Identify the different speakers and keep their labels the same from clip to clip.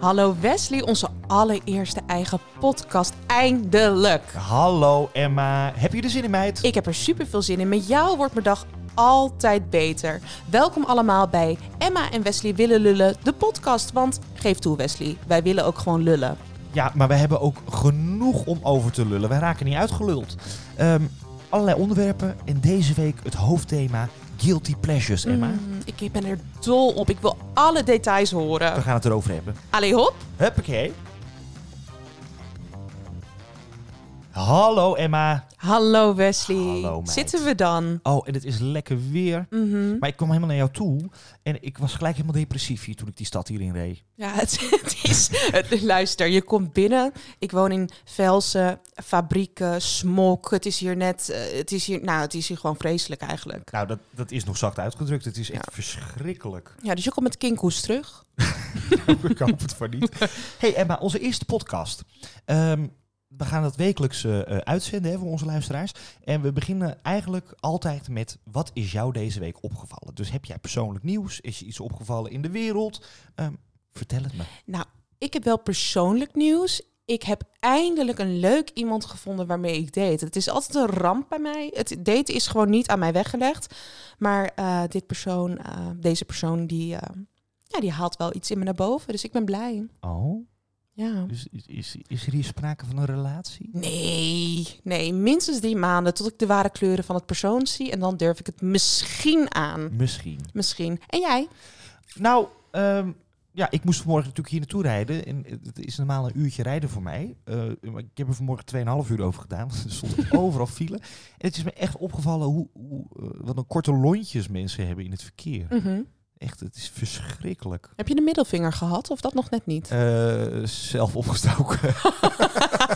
Speaker 1: Hallo Wesley, onze allereerste eigen podcast. Eindelijk.
Speaker 2: Hallo Emma, heb je er zin in meid?
Speaker 1: Ik heb er super veel zin in. Met jou wordt mijn dag altijd beter. Welkom allemaal bij Emma en Wesley willen lullen, de podcast. Want geef toe Wesley, wij willen ook gewoon lullen.
Speaker 2: Ja, maar we hebben ook genoeg om over te lullen. Wij raken niet uitgeluld. Ehm, allerlei onderwerpen en deze week het hoofdthema Guilty Pleasures, Emma.
Speaker 1: Mm, ik ben er dol op. Ik wil alle details
Speaker 2: We
Speaker 1: horen.
Speaker 2: gaan het erover hebben.
Speaker 1: Allee hop.
Speaker 2: Huppakee. Hallo Emma.
Speaker 1: Hallo Wesley.
Speaker 2: Hallo, meid.
Speaker 1: Zitten we dan?
Speaker 2: Oh, en het is lekker weer.
Speaker 1: Mhm.
Speaker 2: Maar ik kwam helemaal naar jou toe en ik was gelijk helemaal depressief hier toen ik die stad hierin reed.
Speaker 1: Ja, het, het is. Het, luister, je komt binnen. Ik woon in Velsen, fabrieken, smok. Het is hier net. eh, het, is hier, nou, het is hier gewoon vreselijk eigenlijk.
Speaker 2: Nou, dat, dat is nog zacht uitgedrukt. Het is echt
Speaker 1: Ja.
Speaker 2: verschrikkelijk.
Speaker 1: Ja, dus je komt met kinkoes terug.
Speaker 2: ik hoop het van niet. Hey Emma, onze eerste podcast. Ehm, we gaan dat wekelijks eh, eh, uitzenden hè, voor onze luisteraars. En we beginnen eigenlijk altijd met wat is jou deze week opgevallen? Dus heb jij persoonlijk nieuws? Is je iets opgevallen in de wereld? Ehm, vertel het me.
Speaker 1: Nou, ik heb wel persoonlijk nieuws. Ik heb eindelijk een leuk iemand gevonden waarmee ik date. Het is altijd een ramp bij mij. Het daten is gewoon niet aan mij weggelegd. Maar eh, dit persoon, eh, deze persoon, die, eh, ja, die haalt wel iets in me naar boven. Dus ik ben blij.
Speaker 2: Oh,
Speaker 1: Ja.
Speaker 2: dus is, is, is er hier sprake van een relatie?
Speaker 1: Nee, nee, minstens drie maanden tot ik de ware kleuren van het persoon zie. En dan durf ik het misschien aan.
Speaker 2: Misschien.
Speaker 1: Misschien. En jij?
Speaker 2: Nou, ehm, ja, ik moest vanmorgen natuurlijk hier naartoe rijden. En het is normaal een uurtje rijden voor mij. Eh, maar ik heb er vanmorgen 2,5 uur over gedaan. want Er stond overal file. En het is me echt opgevallen hoe, hoe, eh, wat een korte lontjes mensen hebben in het verkeer.
Speaker 1: Mhm.
Speaker 2: Echt, het is verschrikkelijk.
Speaker 1: Heb je de middelvinger gehad of dat nog net niet?
Speaker 2: Eh, zelf opgestoken.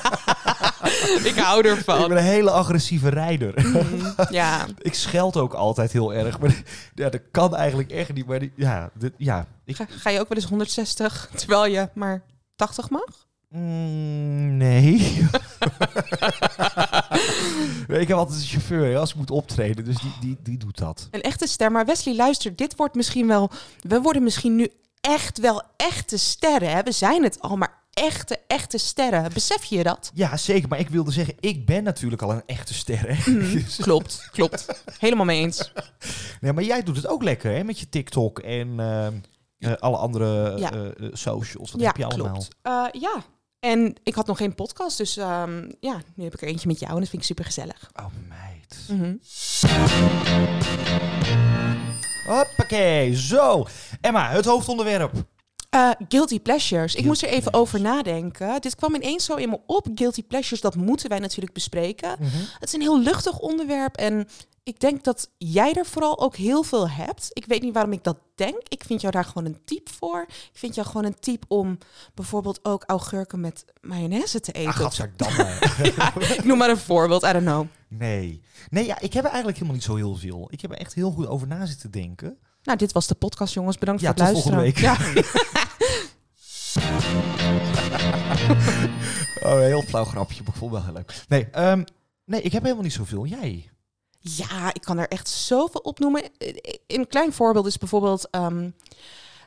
Speaker 1: ik hou
Speaker 2: ik ben
Speaker 1: ervan.
Speaker 2: een hele agressieve rijder.
Speaker 1: Mhm, ja.
Speaker 2: Ik scheld ook altijd heel erg. Maar ja, dat kan eigenlijk echt niet. Maar die- ja, dit- ja, ik,
Speaker 1: Ga, ga je ook wel eens 160 terwijl je maar 80 mag?
Speaker 2: Mm, nee. Nee, ik heb altijd een chauffeur hè, als ik moet optreden, dus die, die, die doet dat.
Speaker 1: Een echte ster. Maar Wesley, luister, dit wordt misschien wel. We worden misschien nu echt wel echte sterren. Hè? We zijn het al, maar echte, echte sterren. Besef je dat?
Speaker 2: Ja, zeker. Maar ik wilde zeggen, ik ben natuurlijk al een echte ster. Hè?
Speaker 1: Mhm.
Speaker 2: Dus-
Speaker 1: Mm, Klopt, klopt. Helemaal mee eens.
Speaker 2: nee, maar jij doet het ook lekker hè, met je TikTok en ehm, eh, alle andere
Speaker 1: Ja.
Speaker 2: eh, eh, socials. Wat heb je allemaal?
Speaker 1: Klopt. Eh, ja, en ik had nog geen podcast, dus ehm, ja, nu heb ik er eentje met jou en dat vind ik super gezellig.
Speaker 2: Oh, meid. Hoppakee, zo. Emma, het hoofdonderwerp.
Speaker 1: Mhm. Eh, guilty pleasures. ik
Speaker 2: Guilty
Speaker 1: moest er even
Speaker 2: pleasures.
Speaker 1: over nadenken. Dit kwam ineens zo in me op. Guilty pleasures, dat moeten wij natuurlijk bespreken.
Speaker 2: Ah,
Speaker 1: Het is een heel luchtig onderwerp en ik denk dat jij er vooral ook heel veel hebt. Ik weet niet waarom ik dat denk. Ik vind jou daar gewoon een type voor. Ik vind jou gewoon een type om bijvoorbeeld ook augurken met mayonaise te eten.
Speaker 2: Ach,
Speaker 1: Of-
Speaker 2: gadverdamme.
Speaker 1: Ja, ik noem maar een voorbeeld, I don't know.
Speaker 2: Nee. Nee, ja, ik heb er eigenlijk helemaal niet zo heel veel. Ik heb er echt heel goed over na zitten denken.
Speaker 1: Nou, dit was de podcast, jongens. Bedankt
Speaker 2: Ja,
Speaker 1: voor het
Speaker 2: tot
Speaker 1: luisteren.
Speaker 2: volgende
Speaker 1: Ja.
Speaker 2: Oh, een heel flauw grapje, maar ik vond het wel heel leuk. Nee, ehm, nee, ik heb helemaal niet zoveel. Jij?
Speaker 1: Ja, ik kan er echt zoveel opnoemen. Een klein voorbeeld is bijvoorbeeld ehm,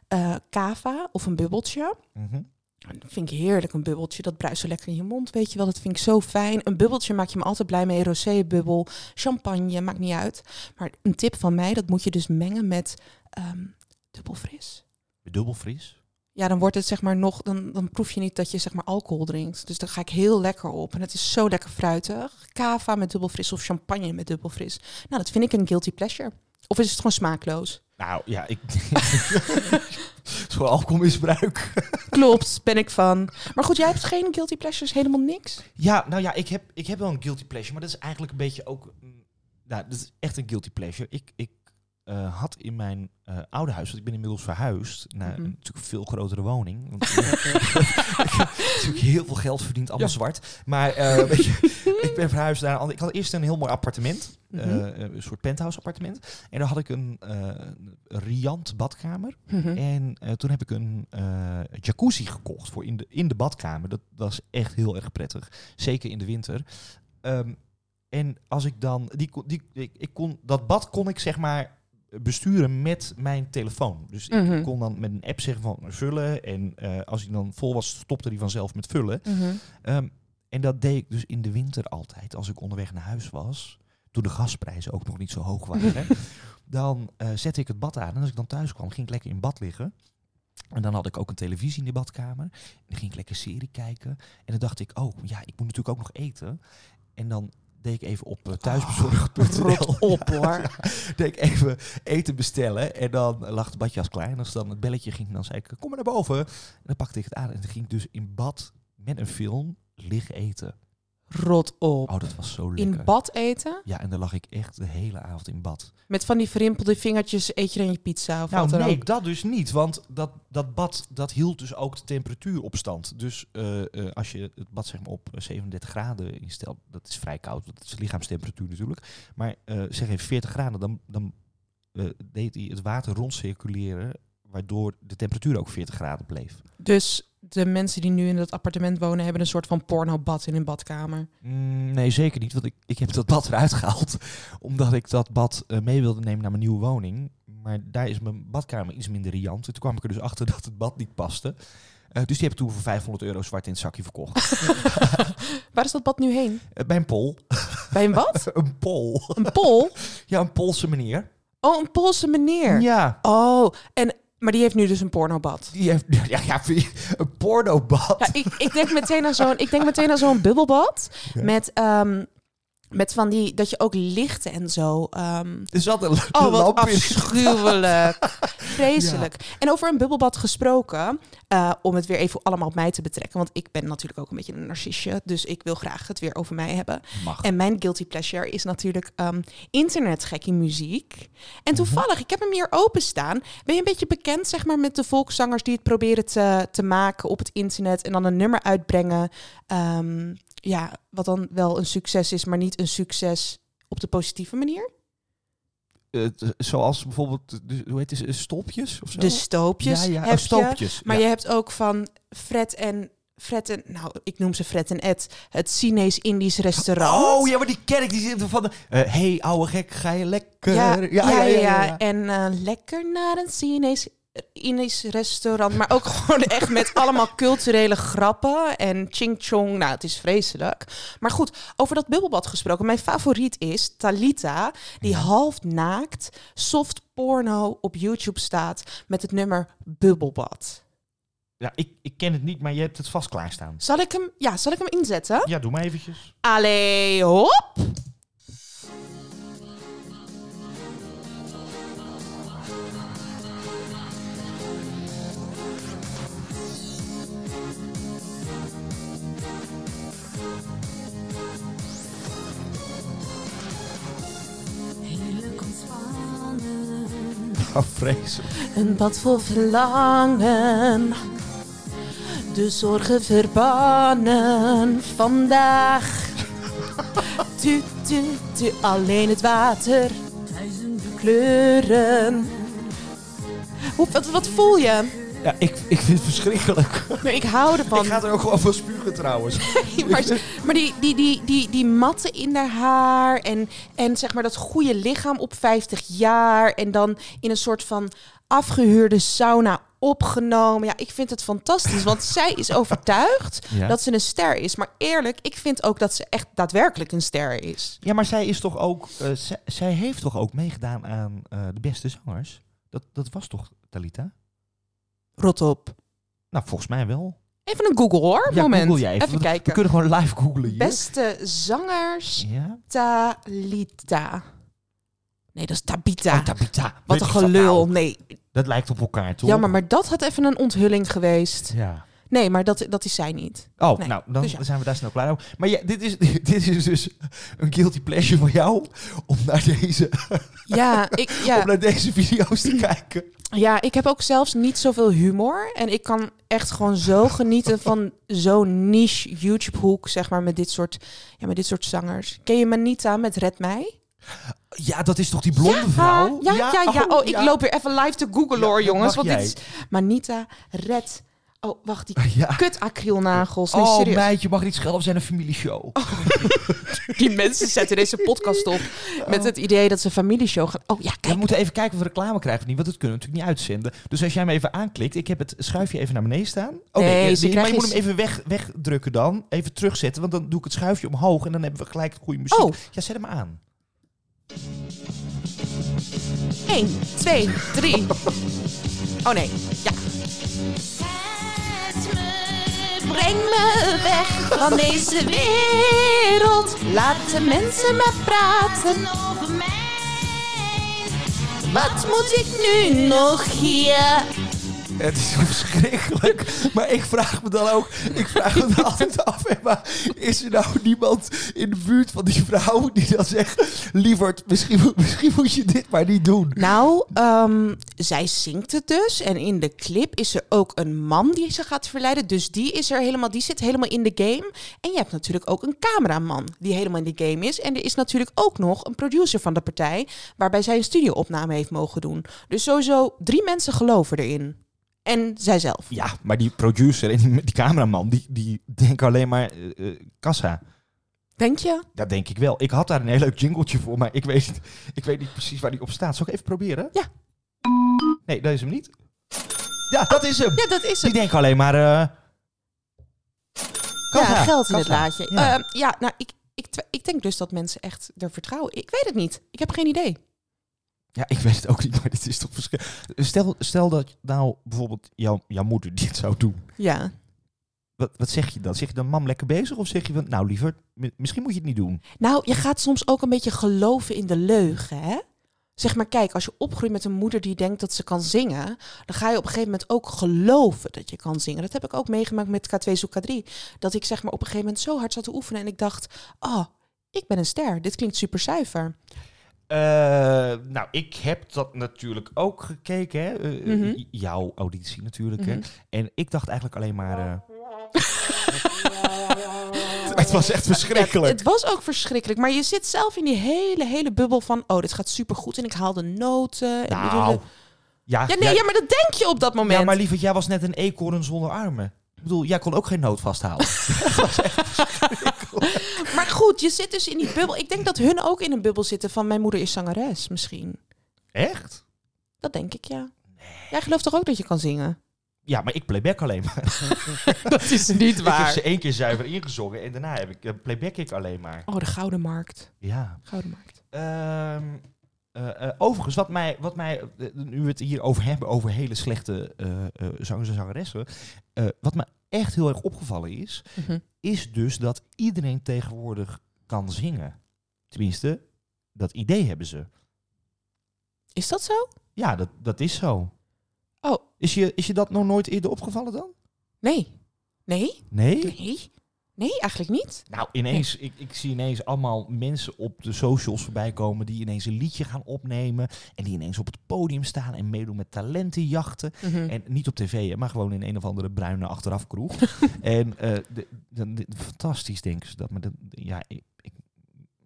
Speaker 1: eh, kava of een bubbeltje.
Speaker 2: Mhm.
Speaker 1: Dat vind ik heerlijk, een bubbeltje. Dat bruist zo lekker in je mond, weet je wel. Dat vind ik zo fijn. Een bubbeltje maak je me altijd blij mee. Rosé-bubbel, champagne, maakt niet uit. Maar een tip van mij, dat moet je dus mengen met ehm dubbel fris.
Speaker 2: Dubbel fris.
Speaker 1: Ja, dan wordt het zeg maar nog, dan, dan proef je niet dat je zeg maar alcohol drinkt. Dus daar ga ik heel lekker op. En het is zo lekker fruitig. Kava met dubbel fris of champagne met dubbel fris. Nou, dat vind ik een guilty pleasure. Of is het gewoon smaakloos?
Speaker 2: Nou, ja, ik... Zo'n alcoholmisbruik.
Speaker 1: Klopt, ben ik van. Maar goed, jij hebt geen guilty pleasures, helemaal niks.
Speaker 2: Ja, nou ja, ik heb, ik heb wel een guilty pleasure, maar dat is eigenlijk een beetje ook... mm, Nou, dat is echt een guilty pleasure. Ik, ik eh, had in mijn eh, oude huis, want ik ben inmiddels verhuisd naar
Speaker 1: Mhm.
Speaker 2: een natuurlijk veel grotere woning. Want ik heb natuurlijk heel veel geld verdiend, allemaal
Speaker 1: Ja.
Speaker 2: zwart. Maar eh, weet je, ik ben verhuisd naar een ander... Ik had eerst een heel mooi appartement.
Speaker 1: Mhm.
Speaker 2: Eh, een soort penthouse appartement. En daar had ik een, eh, een riant badkamer.
Speaker 1: Mhm.
Speaker 2: En eh, toen heb ik een eh, jacuzzi gekocht voor in de, in de badkamer. Dat was echt heel erg prettig. Zeker in de winter. Ehm, en als ik dan... Die, kon- die, ik, ik kon, dat bad kon ik zeg maar besturen met mijn telefoon. Dus ik
Speaker 1: Mhm.
Speaker 2: kon dan met een app zeggen van vullen. En eh, als hij dan vol was, stopte hij vanzelf met vullen.
Speaker 1: Mhm.
Speaker 2: Ehm, en dat deed ik dus in de winter altijd, als ik onderweg naar huis was. Toen de gasprijzen ook nog niet zo hoog waren. dan eh, zette ik het bad aan. En als ik dan thuis kwam, ging ik lekker in bad liggen. En dan had ik ook een televisie in de badkamer. En dan ging ik lekker serie kijken. En dan dacht ik, oh ja, ik moet natuurlijk ook nog eten. En dan deed ik even op eh, thuisbezorgd.nl.
Speaker 1: Ah, Rot op hoor.
Speaker 2: deed ik even eten bestellen. En dan lag de badjas klaar. En als dan het belletje ging, dan zei ik, kom maar naar boven. En dan pakte ik het aan. En dan ging ik dus in bad met een film liggen eten.
Speaker 1: Rot op.
Speaker 2: Oh, dat was zo lekker.
Speaker 1: In bad eten?
Speaker 2: Ja, en dan lag ik echt de hele avond in bad.
Speaker 1: Met van die verrimpelde vingertjes eet je dan je pizza of wat
Speaker 2: Nou,
Speaker 1: dan
Speaker 2: nee,
Speaker 1: ook.
Speaker 2: dat dus niet. Want dat, dat bad, dat hield dus ook de temperatuur op stand. Dus eh, eh, als je het bad zeg maar op 37 graden instelt, dat is vrij koud. want Dat is lichaamstemperatuur natuurlijk. Maar eh, zeg even 40 graden, dan, dan eh, deed hij het water rondcirculeren. Waardoor de temperatuur ook 40 graden bleef.
Speaker 1: Dus de mensen die nu in dat appartement wonen hebben een soort van pornobad in hun badkamer.
Speaker 2: Mm, nee, zeker niet. Want ik, ik heb dat bad eruit gehaald. Omdat ik dat bad eh, mee wilde nemen naar mijn nieuwe woning. Maar daar is mijn badkamer iets minder riant. En toen kwam ik er dus achter dat het bad niet paste. Eh, dus die heb ik toen voor 500 euro zwart in het zakje verkocht.
Speaker 1: Waar is dat bad nu heen?
Speaker 2: Eh, bij een pol.
Speaker 1: Bij een wat?
Speaker 2: een pol.
Speaker 1: Een pol?
Speaker 2: Ja, een Poolse meneer.
Speaker 1: Oh, een Poolse meneer.
Speaker 2: Ja.
Speaker 1: Oh, en, maar die heeft nu dus een pornobad.
Speaker 2: Die heeft, ja, ja, een pornobad.
Speaker 1: Ja, ik, ik denk meteen aan zo'n, ik denk meteen aan zo'n bubbelbad
Speaker 2: Ja.
Speaker 1: met, ehm, met van die dat je ook lichten en zo. ehm,
Speaker 2: Er zat een l-
Speaker 1: oh, wat
Speaker 2: lamp in.
Speaker 1: afschuwelijk, vreselijk. En over een bubbelbad gesproken, eh, om het weer even allemaal op mij te betrekken, want ik ben natuurlijk ook een beetje een narcistje, dus ik wil graag het weer over mij hebben.
Speaker 2: Mag.
Speaker 1: En mijn guilty pleasure is natuurlijk ehm internetgekkie muziek.
Speaker 2: Mhm.
Speaker 1: En toevallig, ik heb hem hier openstaan. Ben je een beetje bekend zeg maar, met de volkszangers die het proberen te, te maken op het internet en dan een nummer uitbrengen? ehm, ja, wat dan wel een succes is, maar niet een succes op de positieve manier.
Speaker 2: Eh, t- zoals bijvoorbeeld, eh, dus, hoe heet het, eh, stolpjes of zo?
Speaker 1: De stoopjes
Speaker 2: ja, ja, eh,
Speaker 1: heb je.
Speaker 2: stolpjes.
Speaker 1: Maar
Speaker 2: ja.
Speaker 1: je hebt ook van Fred en... Fred en, nou, ik noem ze Fred en Ed, het Chinees-Indisch restaurant.
Speaker 2: Oh, ja, maar die kerk die zit er van... Hé, hey, ouwe gek, ga je lekker?
Speaker 1: Ja, ja, ja,
Speaker 2: ja.
Speaker 1: En eh, lekker naar een Chinees, Chinees restaurant. Maar ook gewoon echt met allemaal culturele grappen. En ching chong. Nou, het is vreselijk. Maar goed, over dat bubbelbad gesproken. Mijn favoriet is Talita, die half naakt soft porno op YouTube staat met het nummer Bubbelbad.
Speaker 2: Ja, ik, ik ken het niet, maar je hebt het vast klaarstaan.
Speaker 1: Zal ik hem, ja, zal ik hem inzetten?
Speaker 2: Ja, doe maar eventjes.
Speaker 1: Allee, hop!
Speaker 3: Heerlijk ontspannen.
Speaker 2: Oh, vreselijk.
Speaker 1: Een bad vol verlangen. De zorgen verbannen vandaag. Tu, tu, tu, alleen het water,
Speaker 3: Duizenden
Speaker 1: kleuren. Hoe, wat, wat voel je?
Speaker 2: Ja, ik, ik vind het verschrikkelijk.
Speaker 1: Nee, ik hou ervan.
Speaker 2: Ik ga er ook gewoon van spugen trouwens.
Speaker 1: maar maar die, die, die, die, die matten in haar haar en, en zeg maar dat goede lichaam op 50 jaar en dan in een soort van afgehuurde sauna opgenomen. Ja, ik vind het fantastisch, want zij is overtuigd
Speaker 2: Ja.
Speaker 1: dat ze een ster is. Maar eerlijk, ik vind ook dat ze echt daadwerkelijk een ster is.
Speaker 2: Ja, maar zij is toch ook... eh, zij, zij heeft toch ook meegedaan aan eh, de beste zangers? Dat, dat was toch Talita?
Speaker 1: Rot op.
Speaker 2: Nou, volgens mij wel.
Speaker 1: Even een Google hoor,
Speaker 2: ja,
Speaker 1: moment.
Speaker 2: google jij even.
Speaker 1: even
Speaker 2: want We
Speaker 1: kijken.
Speaker 2: kunnen gewoon live googlen hier.
Speaker 1: Beste zangers
Speaker 2: Ja.
Speaker 1: Talita. Nee, dat is Tabita.
Speaker 2: Oh, Tabita.
Speaker 1: Wat een
Speaker 2: Weet ik van,
Speaker 1: gelul.
Speaker 2: nou,
Speaker 1: Nee,
Speaker 2: dat lijkt op elkaar, toch?
Speaker 1: Jammer, maar dat had even een onthulling geweest.
Speaker 2: Ja.
Speaker 1: Nee, maar dat, dat is zij niet.
Speaker 2: Oh,
Speaker 1: Nee,
Speaker 2: nou, dan
Speaker 1: dus ja.
Speaker 2: zijn we daar snel klaar over. Maar ja, dit, is, dit is dus een guilty pleasure voor jou om naar deze,
Speaker 1: Ja ik,
Speaker 2: om
Speaker 1: ja,
Speaker 2: naar deze video's te kijken.
Speaker 1: ja, ik heb ook zelfs niet zoveel humor. En ik kan echt gewoon zo genieten van zo'n niche YouTube-hoek, zeg maar, met dit, soort, ja, met dit soort zangers. Ken je Manita met Red Mij?
Speaker 2: Ja, dat is toch die blonde vrouw?
Speaker 1: ja, ja, ja. Oh, ik
Speaker 2: ja.
Speaker 1: loop weer even live te googlen hoor,
Speaker 2: Ja, dat
Speaker 1: jongens.
Speaker 2: mag
Speaker 1: Want dit is Manita Red Oh, wacht, die
Speaker 2: Ja.
Speaker 1: kut acrylnagels. Nee,
Speaker 2: Oh,
Speaker 1: serieus. Oh,
Speaker 2: meid, je mag niet schelden, we zijn een familieshow.
Speaker 1: Die mensen zetten deze podcast op met
Speaker 2: Oh.
Speaker 1: het idee dat ze een familieshow gaan. Oh ja,
Speaker 2: Ja, we
Speaker 1: kijk.
Speaker 2: moeten even kijken of we reclame krijgen of niet, want dat kunnen we natuurlijk niet uitzenden. Dus als jij hem even aanklikt, ik heb het schuifje even naar beneden staan. Oh,
Speaker 1: Nee,
Speaker 2: eh,
Speaker 1: ze
Speaker 2: maar je
Speaker 1: krijgen
Speaker 2: moet hem even weg, wegdrukken dan. Even terugzetten, want dan doe ik het schuifje omhoog en dan hebben we gelijk goede muziek.
Speaker 1: Oh.
Speaker 2: Ja, zet hem aan.
Speaker 1: 1, 2, 3. Oh nee, ja. Breng me weg van deze wereld. Laat de mensen maar praten.
Speaker 3: over mij.
Speaker 1: Wat moet ik nu nog hier?
Speaker 2: Het is verschrikkelijk. Maar ik vraag me dan ook, ik vraag me dan altijd af, Emma, is er nou niemand in de buurt van die vrouw die dan zegt, lieverd, misschien, mo- misschien moet je dit maar niet doen.
Speaker 1: Nou, ehm, zij zingt het dus. En in de clip is er ook een man die ze gaat verleiden. Dus die is er helemaal, die zit helemaal in de game. En je hebt natuurlijk ook een cameraman die helemaal in de game is. En er is natuurlijk ook nog een producer van de partij, waarbij zij een studioopname heeft mogen doen. Dus sowieso drie mensen geloven erin. En zijzelf.
Speaker 2: Ja, maar die producer en die, die cameraman, die, die denken alleen maar eh, eh, kassa.
Speaker 1: Denk je?
Speaker 2: Dat denk ik wel. Ik had daar een heel leuk jingletje voor, maar ik weet, ik weet niet precies waar die op staat. Zal ik even proberen?
Speaker 1: Ja.
Speaker 2: Nee, dat is hem niet. Ja, dat is hem.
Speaker 1: Ja, dat is
Speaker 2: Die
Speaker 1: het.
Speaker 2: denken alleen maar... eh kassa,
Speaker 1: ja, geld in het
Speaker 2: kassa.
Speaker 1: laadje.
Speaker 2: Ja.
Speaker 1: Ja, ja nou, ik, ik, twi- ik denk dus dat mensen echt er vertrouwen. Ik weet het niet. Ik heb geen idee.
Speaker 2: Ja, ik weet het ook niet, maar dit is toch verschil. Stel, stel dat nou bijvoorbeeld jouw, jouw moeder dit zou doen.
Speaker 1: Ja.
Speaker 2: Wat, wat zeg je dan? Zeg je dan, mam, lekker bezig? Of zeg je van, nou liever, misschien moet je het niet doen.
Speaker 1: Nou, je gaat soms ook een beetje geloven in de leugen, hè? Zeg maar, kijk, als je opgroeit met een moeder die denkt dat ze kan zingen, dan ga je op een gegeven moment ook geloven dat je kan zingen. Dat heb ik ook meegemaakt met K2 Zoek K3. Dat ik zeg maar op een gegeven moment zo hard zat te oefenen en ik dacht, oh, ik ben een ster. Dit klinkt super zuiver.
Speaker 2: Eh, nou, ik heb dat natuurlijk ook gekeken, hè? Eh, eh,
Speaker 1: Mhm.
Speaker 2: j- jouw auditie natuurlijk.
Speaker 1: Mhm.
Speaker 2: Hè? En ik dacht eigenlijk alleen maar. eh, het was echt verschrikkelijk.
Speaker 1: Het was ook verschrikkelijk, maar je zit zelf in die hele, hele bubbel van, oh, dit gaat super goed en ik haal de noten. en-
Speaker 2: nou, ja,
Speaker 1: Ja, nee,
Speaker 2: jij-
Speaker 1: ja, maar dat denk je op dat moment.
Speaker 2: ja, maar liever, jij was net een eekhoorn zonder armen. Ik bedoel, jij kon ook geen nood vasthouden.
Speaker 1: Maar goed, je zit dus in die bubbel. Ik denk dat hun ook in een bubbel zitten van mijn moeder is zangeres misschien.
Speaker 2: echt?
Speaker 1: Dat denk ik, ja. Jij gelooft toch ook dat je kan zingen?
Speaker 2: Ja, maar ik playback alleen maar.
Speaker 1: Dat is niet
Speaker 2: Ik heb ze één keer zuiver ingezongen en daarna heb ik, eh, playback ik alleen maar.
Speaker 1: Oh, de Gouden Markt.
Speaker 2: Ja.
Speaker 1: Gouden Markt.
Speaker 2: Ehm, eh, eh, overigens, wat mij, wat mij eh, nu we het hier over hebben, over hele slechte eh, eh, zangers en zangeressen. eh, wat me echt heel erg opgevallen is, is dus dat iedereen tegenwoordig kan zingen. Tenminste, dat idee hebben ze.
Speaker 1: Is dat zo?
Speaker 2: Ja, dat, dat is zo.
Speaker 1: Oh.
Speaker 2: Is je, is je dat nog nooit eerder opgevallen dan?
Speaker 1: Nee. Nee?
Speaker 2: Nee?
Speaker 1: Nee? Nee, eigenlijk niet.
Speaker 2: Nou, ineens, ik, ik zie ineens allemaal mensen op de socials voorbij komen die ineens een liedje gaan opnemen. En die ineens op het podium staan en meedoen met talentenjachten.
Speaker 1: Hm.
Speaker 2: En niet op tv, hè, maar gewoon in een of andere bruine achteraf kroeg. en eh, de- de- de- fantastisch denken ze dat. Maar dat- ja, ik, ik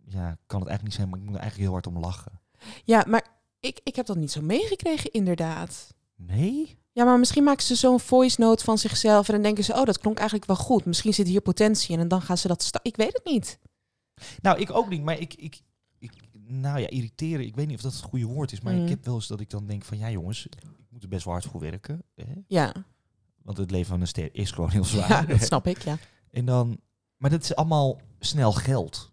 Speaker 2: ja, kan het eigenlijk niet zijn, maar ik moet er eigenlijk heel hard om lachen.
Speaker 1: Ja, maar ik, ik heb dat niet zo meegekregen, inderdaad.
Speaker 2: Nee?
Speaker 1: Ja, maar misschien maken ze zo'n voice note van zichzelf en dan denken ze, oh, dat klonk eigenlijk wel goed. Misschien zit hier potentie in en dan gaan ze dat... sta- Ik weet het niet.
Speaker 2: Nou, ik ook niet, maar ik... ik ik, nou ja, irriteren. Ik weet niet of dat het goede woord is, maar
Speaker 1: Mm.
Speaker 2: ik heb wel eens dat ik dan denk van ja jongens, ik moet er best wel hard voor werken. Hè?
Speaker 1: Ja,
Speaker 2: Want het leven van een ster is gewoon heel zwaar.
Speaker 1: ja dat snap ik, ja.
Speaker 2: En dan, maar dat is allemaal snel geld.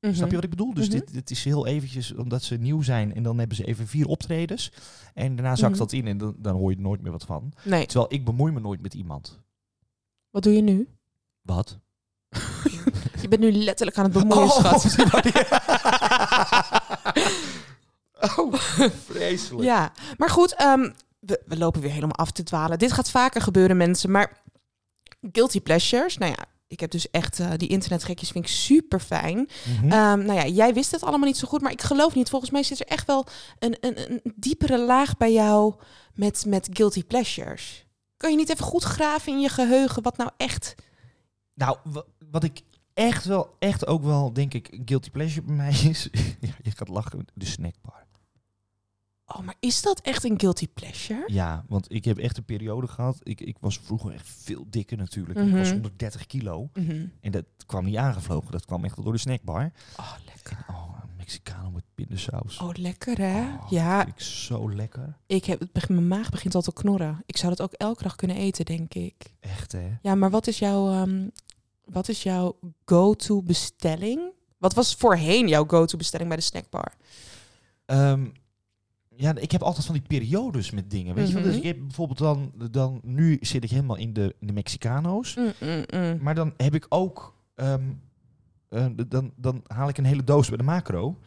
Speaker 2: Snap
Speaker 1: Mhm.
Speaker 2: je wat ik bedoel? Dus
Speaker 1: Mhm.
Speaker 2: dit, dit is heel eventjes, omdat ze nieuw zijn en dan hebben ze even vier optredens. En daarna zakt
Speaker 1: Mhm.
Speaker 2: dat in en dan, dan hoor je er nooit meer wat van.
Speaker 1: Nee,
Speaker 2: Terwijl ik bemoei me nooit met iemand.
Speaker 1: wat doe je nu?
Speaker 2: Wat?
Speaker 1: Je bent nu letterlijk aan het bemoeien, schat.
Speaker 2: oh, vreselijk.
Speaker 1: Ja, maar goed, ehm, we, we lopen weer helemaal af te dwalen. Dit gaat vaker gebeuren, mensen. Maar guilty pleasures, nou ja, ik heb dus echt eh, die internetgekjes vind ik super fijn.
Speaker 2: Mhm.
Speaker 1: Ehm, nou ja, jij wist het allemaal niet zo goed, maar ik geloof niet. Volgens mij zit er echt wel een, een, een diepere laag bij jou met, met guilty pleasures. Kan je niet even goed graven in je geheugen wat nou echt...
Speaker 2: Nou, wa- wat ik echt wel, echt ook wel, denk ik, een guilty pleasure bij mij is. ja, je gaat lachen, de snackbar.
Speaker 1: Oh, maar is dat echt een guilty pleasure?
Speaker 2: Ja, want ik heb echt een periode gehad. Ik, ik was vroeger echt veel dikker natuurlijk. Ik
Speaker 1: Mhm.
Speaker 2: was 130 kilo.
Speaker 1: Mhm.
Speaker 2: En dat kwam niet aangevlogen. Dat kwam echt door de snackbar.
Speaker 1: Oh, lekker.
Speaker 2: Oh, een Mexicano met pindasaus.
Speaker 1: Oh, lekker hè?
Speaker 2: Oh,
Speaker 1: ja,
Speaker 2: Vind ik zo lekker.
Speaker 1: ik heb, het beg- mijn maag begint al te knorren. Ik zou dat ook elke dag kunnen eten, denk ik.
Speaker 2: Echt hè?
Speaker 1: Ja, maar wat is jouw, ehm, wat is jouw go-to bestelling? Wat was voorheen jouw go-to bestelling bij de snackbar?
Speaker 2: Ehm, ja, ik heb altijd van die periodes met dingen. Weet je wel? Dus
Speaker 1: Mhm.
Speaker 2: ik heb bijvoorbeeld dan, dan... Nu zit ik helemaal in de, in de Mexicano's. Maar dan heb ik ook... ehm, eh, d- dan, dan haal ik een hele doos bij de macro.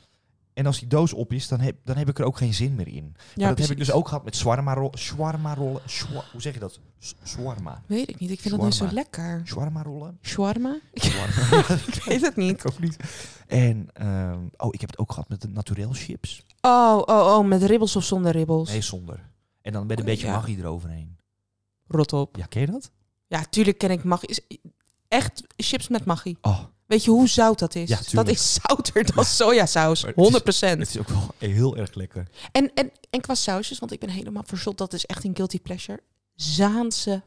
Speaker 2: En als die doos op is, dan heb, dan heb ik er ook geen zin meer in.
Speaker 1: Ja,
Speaker 2: maar dat heb ik dus ook gehad met shawarma rollen. Shawarma rollen. shwa- hoe zeg je dat? S- Shawarma.
Speaker 1: Weet ik niet, ik vind dat nou zo
Speaker 2: Shawarma.
Speaker 1: lekker.
Speaker 2: Shawarma rollen.
Speaker 1: Shawarma? Ik
Speaker 2: Shawarma.
Speaker 1: weet het niet.
Speaker 2: ik ook niet. En ehm, oh, ik heb het ook gehad met de naturel chips.
Speaker 1: Oh, oh, oh, met ribbels of zonder ribbels?
Speaker 2: Nee, zonder. En dan met een
Speaker 1: Oké,
Speaker 2: beetje
Speaker 1: Oh, ja.
Speaker 2: magie eroverheen.
Speaker 1: Rot op.
Speaker 2: Ja, ken je dat?
Speaker 1: Ja, tuurlijk ken ik magie. Is- Echt chips met magie.
Speaker 2: Oh,
Speaker 1: Weet je hoe zout dat is?
Speaker 2: Ja,
Speaker 1: dat
Speaker 2: tuurlijk.
Speaker 1: is zouter dan sojasaus. 100%.
Speaker 2: Maar het is- het is ook wel heel erg lekker.
Speaker 1: En, en, en qua sausjes, want ik ben helemaal verzot. Dat is echt een guilty pleasure. Zaanse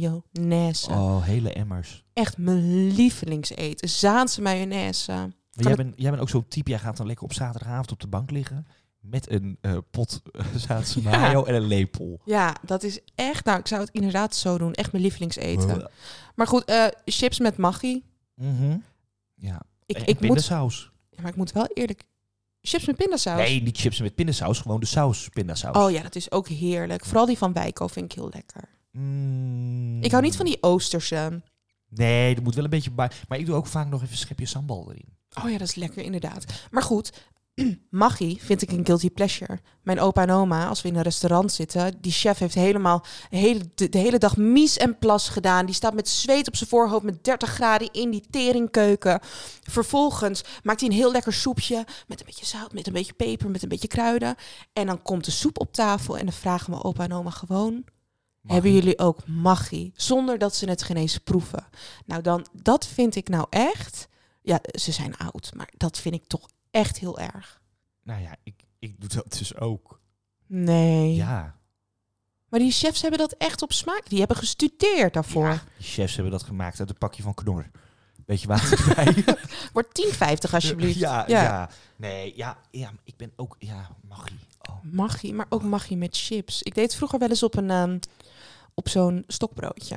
Speaker 1: mayonaise.
Speaker 2: Oh, hele emmers.
Speaker 1: Echt mijn lievelingseten. Zaanse mayonaise.
Speaker 2: Maar jij, bent, jij bent ook zo'n type, jij gaat dan lekker op zaterdagavond op de bank liggen... met een eh, pot eh, Zaanse
Speaker 1: Ja.
Speaker 2: mayo en een lepel.
Speaker 1: Ja, dat is echt... Nou, ik zou het inderdaad zo doen. Echt mijn lievelingseten. Maar goed, eh, chips met magie.
Speaker 2: Mhm. Ja,
Speaker 1: Ik,
Speaker 2: en
Speaker 1: ik, moet,
Speaker 2: pindasaus.
Speaker 1: ja, maar ik moet wel eerlijk... Chips met pindasaus.
Speaker 2: Nee, niet chips met pindasaus, gewoon de saus pindasaus.
Speaker 1: Oh ja, dat is ook heerlijk. Vooral die van Wijko vind ik heel lekker.
Speaker 2: Mm.
Speaker 1: Ik hou niet van die Oosterse.
Speaker 2: Nee, er moet wel een beetje bij. Maar ik doe ook vaak nog even een schepje sambal erin.
Speaker 1: Oh ja, dat is lekker, inderdaad. Maar goed, magie vind ik een guilty pleasure. Mijn opa en oma, als we in een restaurant zitten, die chef heeft helemaal de hele, de, de hele dag mies en plas gedaan. Die staat met zweet op zijn voorhoofd met 30 graden in die teringkeuken. Vervolgens maakt hij een heel lekker soepje met een beetje zout, met een beetje peper, met een beetje kruiden. En dan komt de soep op tafel en dan vragen we opa en oma gewoon... Hebben jullie ook magie? Zonder dat ze het geen eens proeven. Nou, dan, dat vind ik nou echt. Ja, ze zijn oud, maar dat vind ik toch echt heel erg.
Speaker 2: Nou ja, ik, ik doe dat dus ook.
Speaker 1: Nee.
Speaker 2: Ja.
Speaker 1: Maar die chefs hebben dat echt op smaak. Die hebben gestudeerd daarvoor.
Speaker 2: Ja, die chefs hebben dat gemaakt uit een pakje van knor. Weet je waar? bij?
Speaker 1: Wordt 10,50 alsjeblieft.
Speaker 2: Ja, ja.
Speaker 1: Ja.
Speaker 2: Nee, ja, ja, maar ik ben ook... Ja, magie. Oh.
Speaker 1: Magie, maar ook magie met chips. Ik deed het vroeger wel eens op, een, ehm, op zo'n stokbroodje.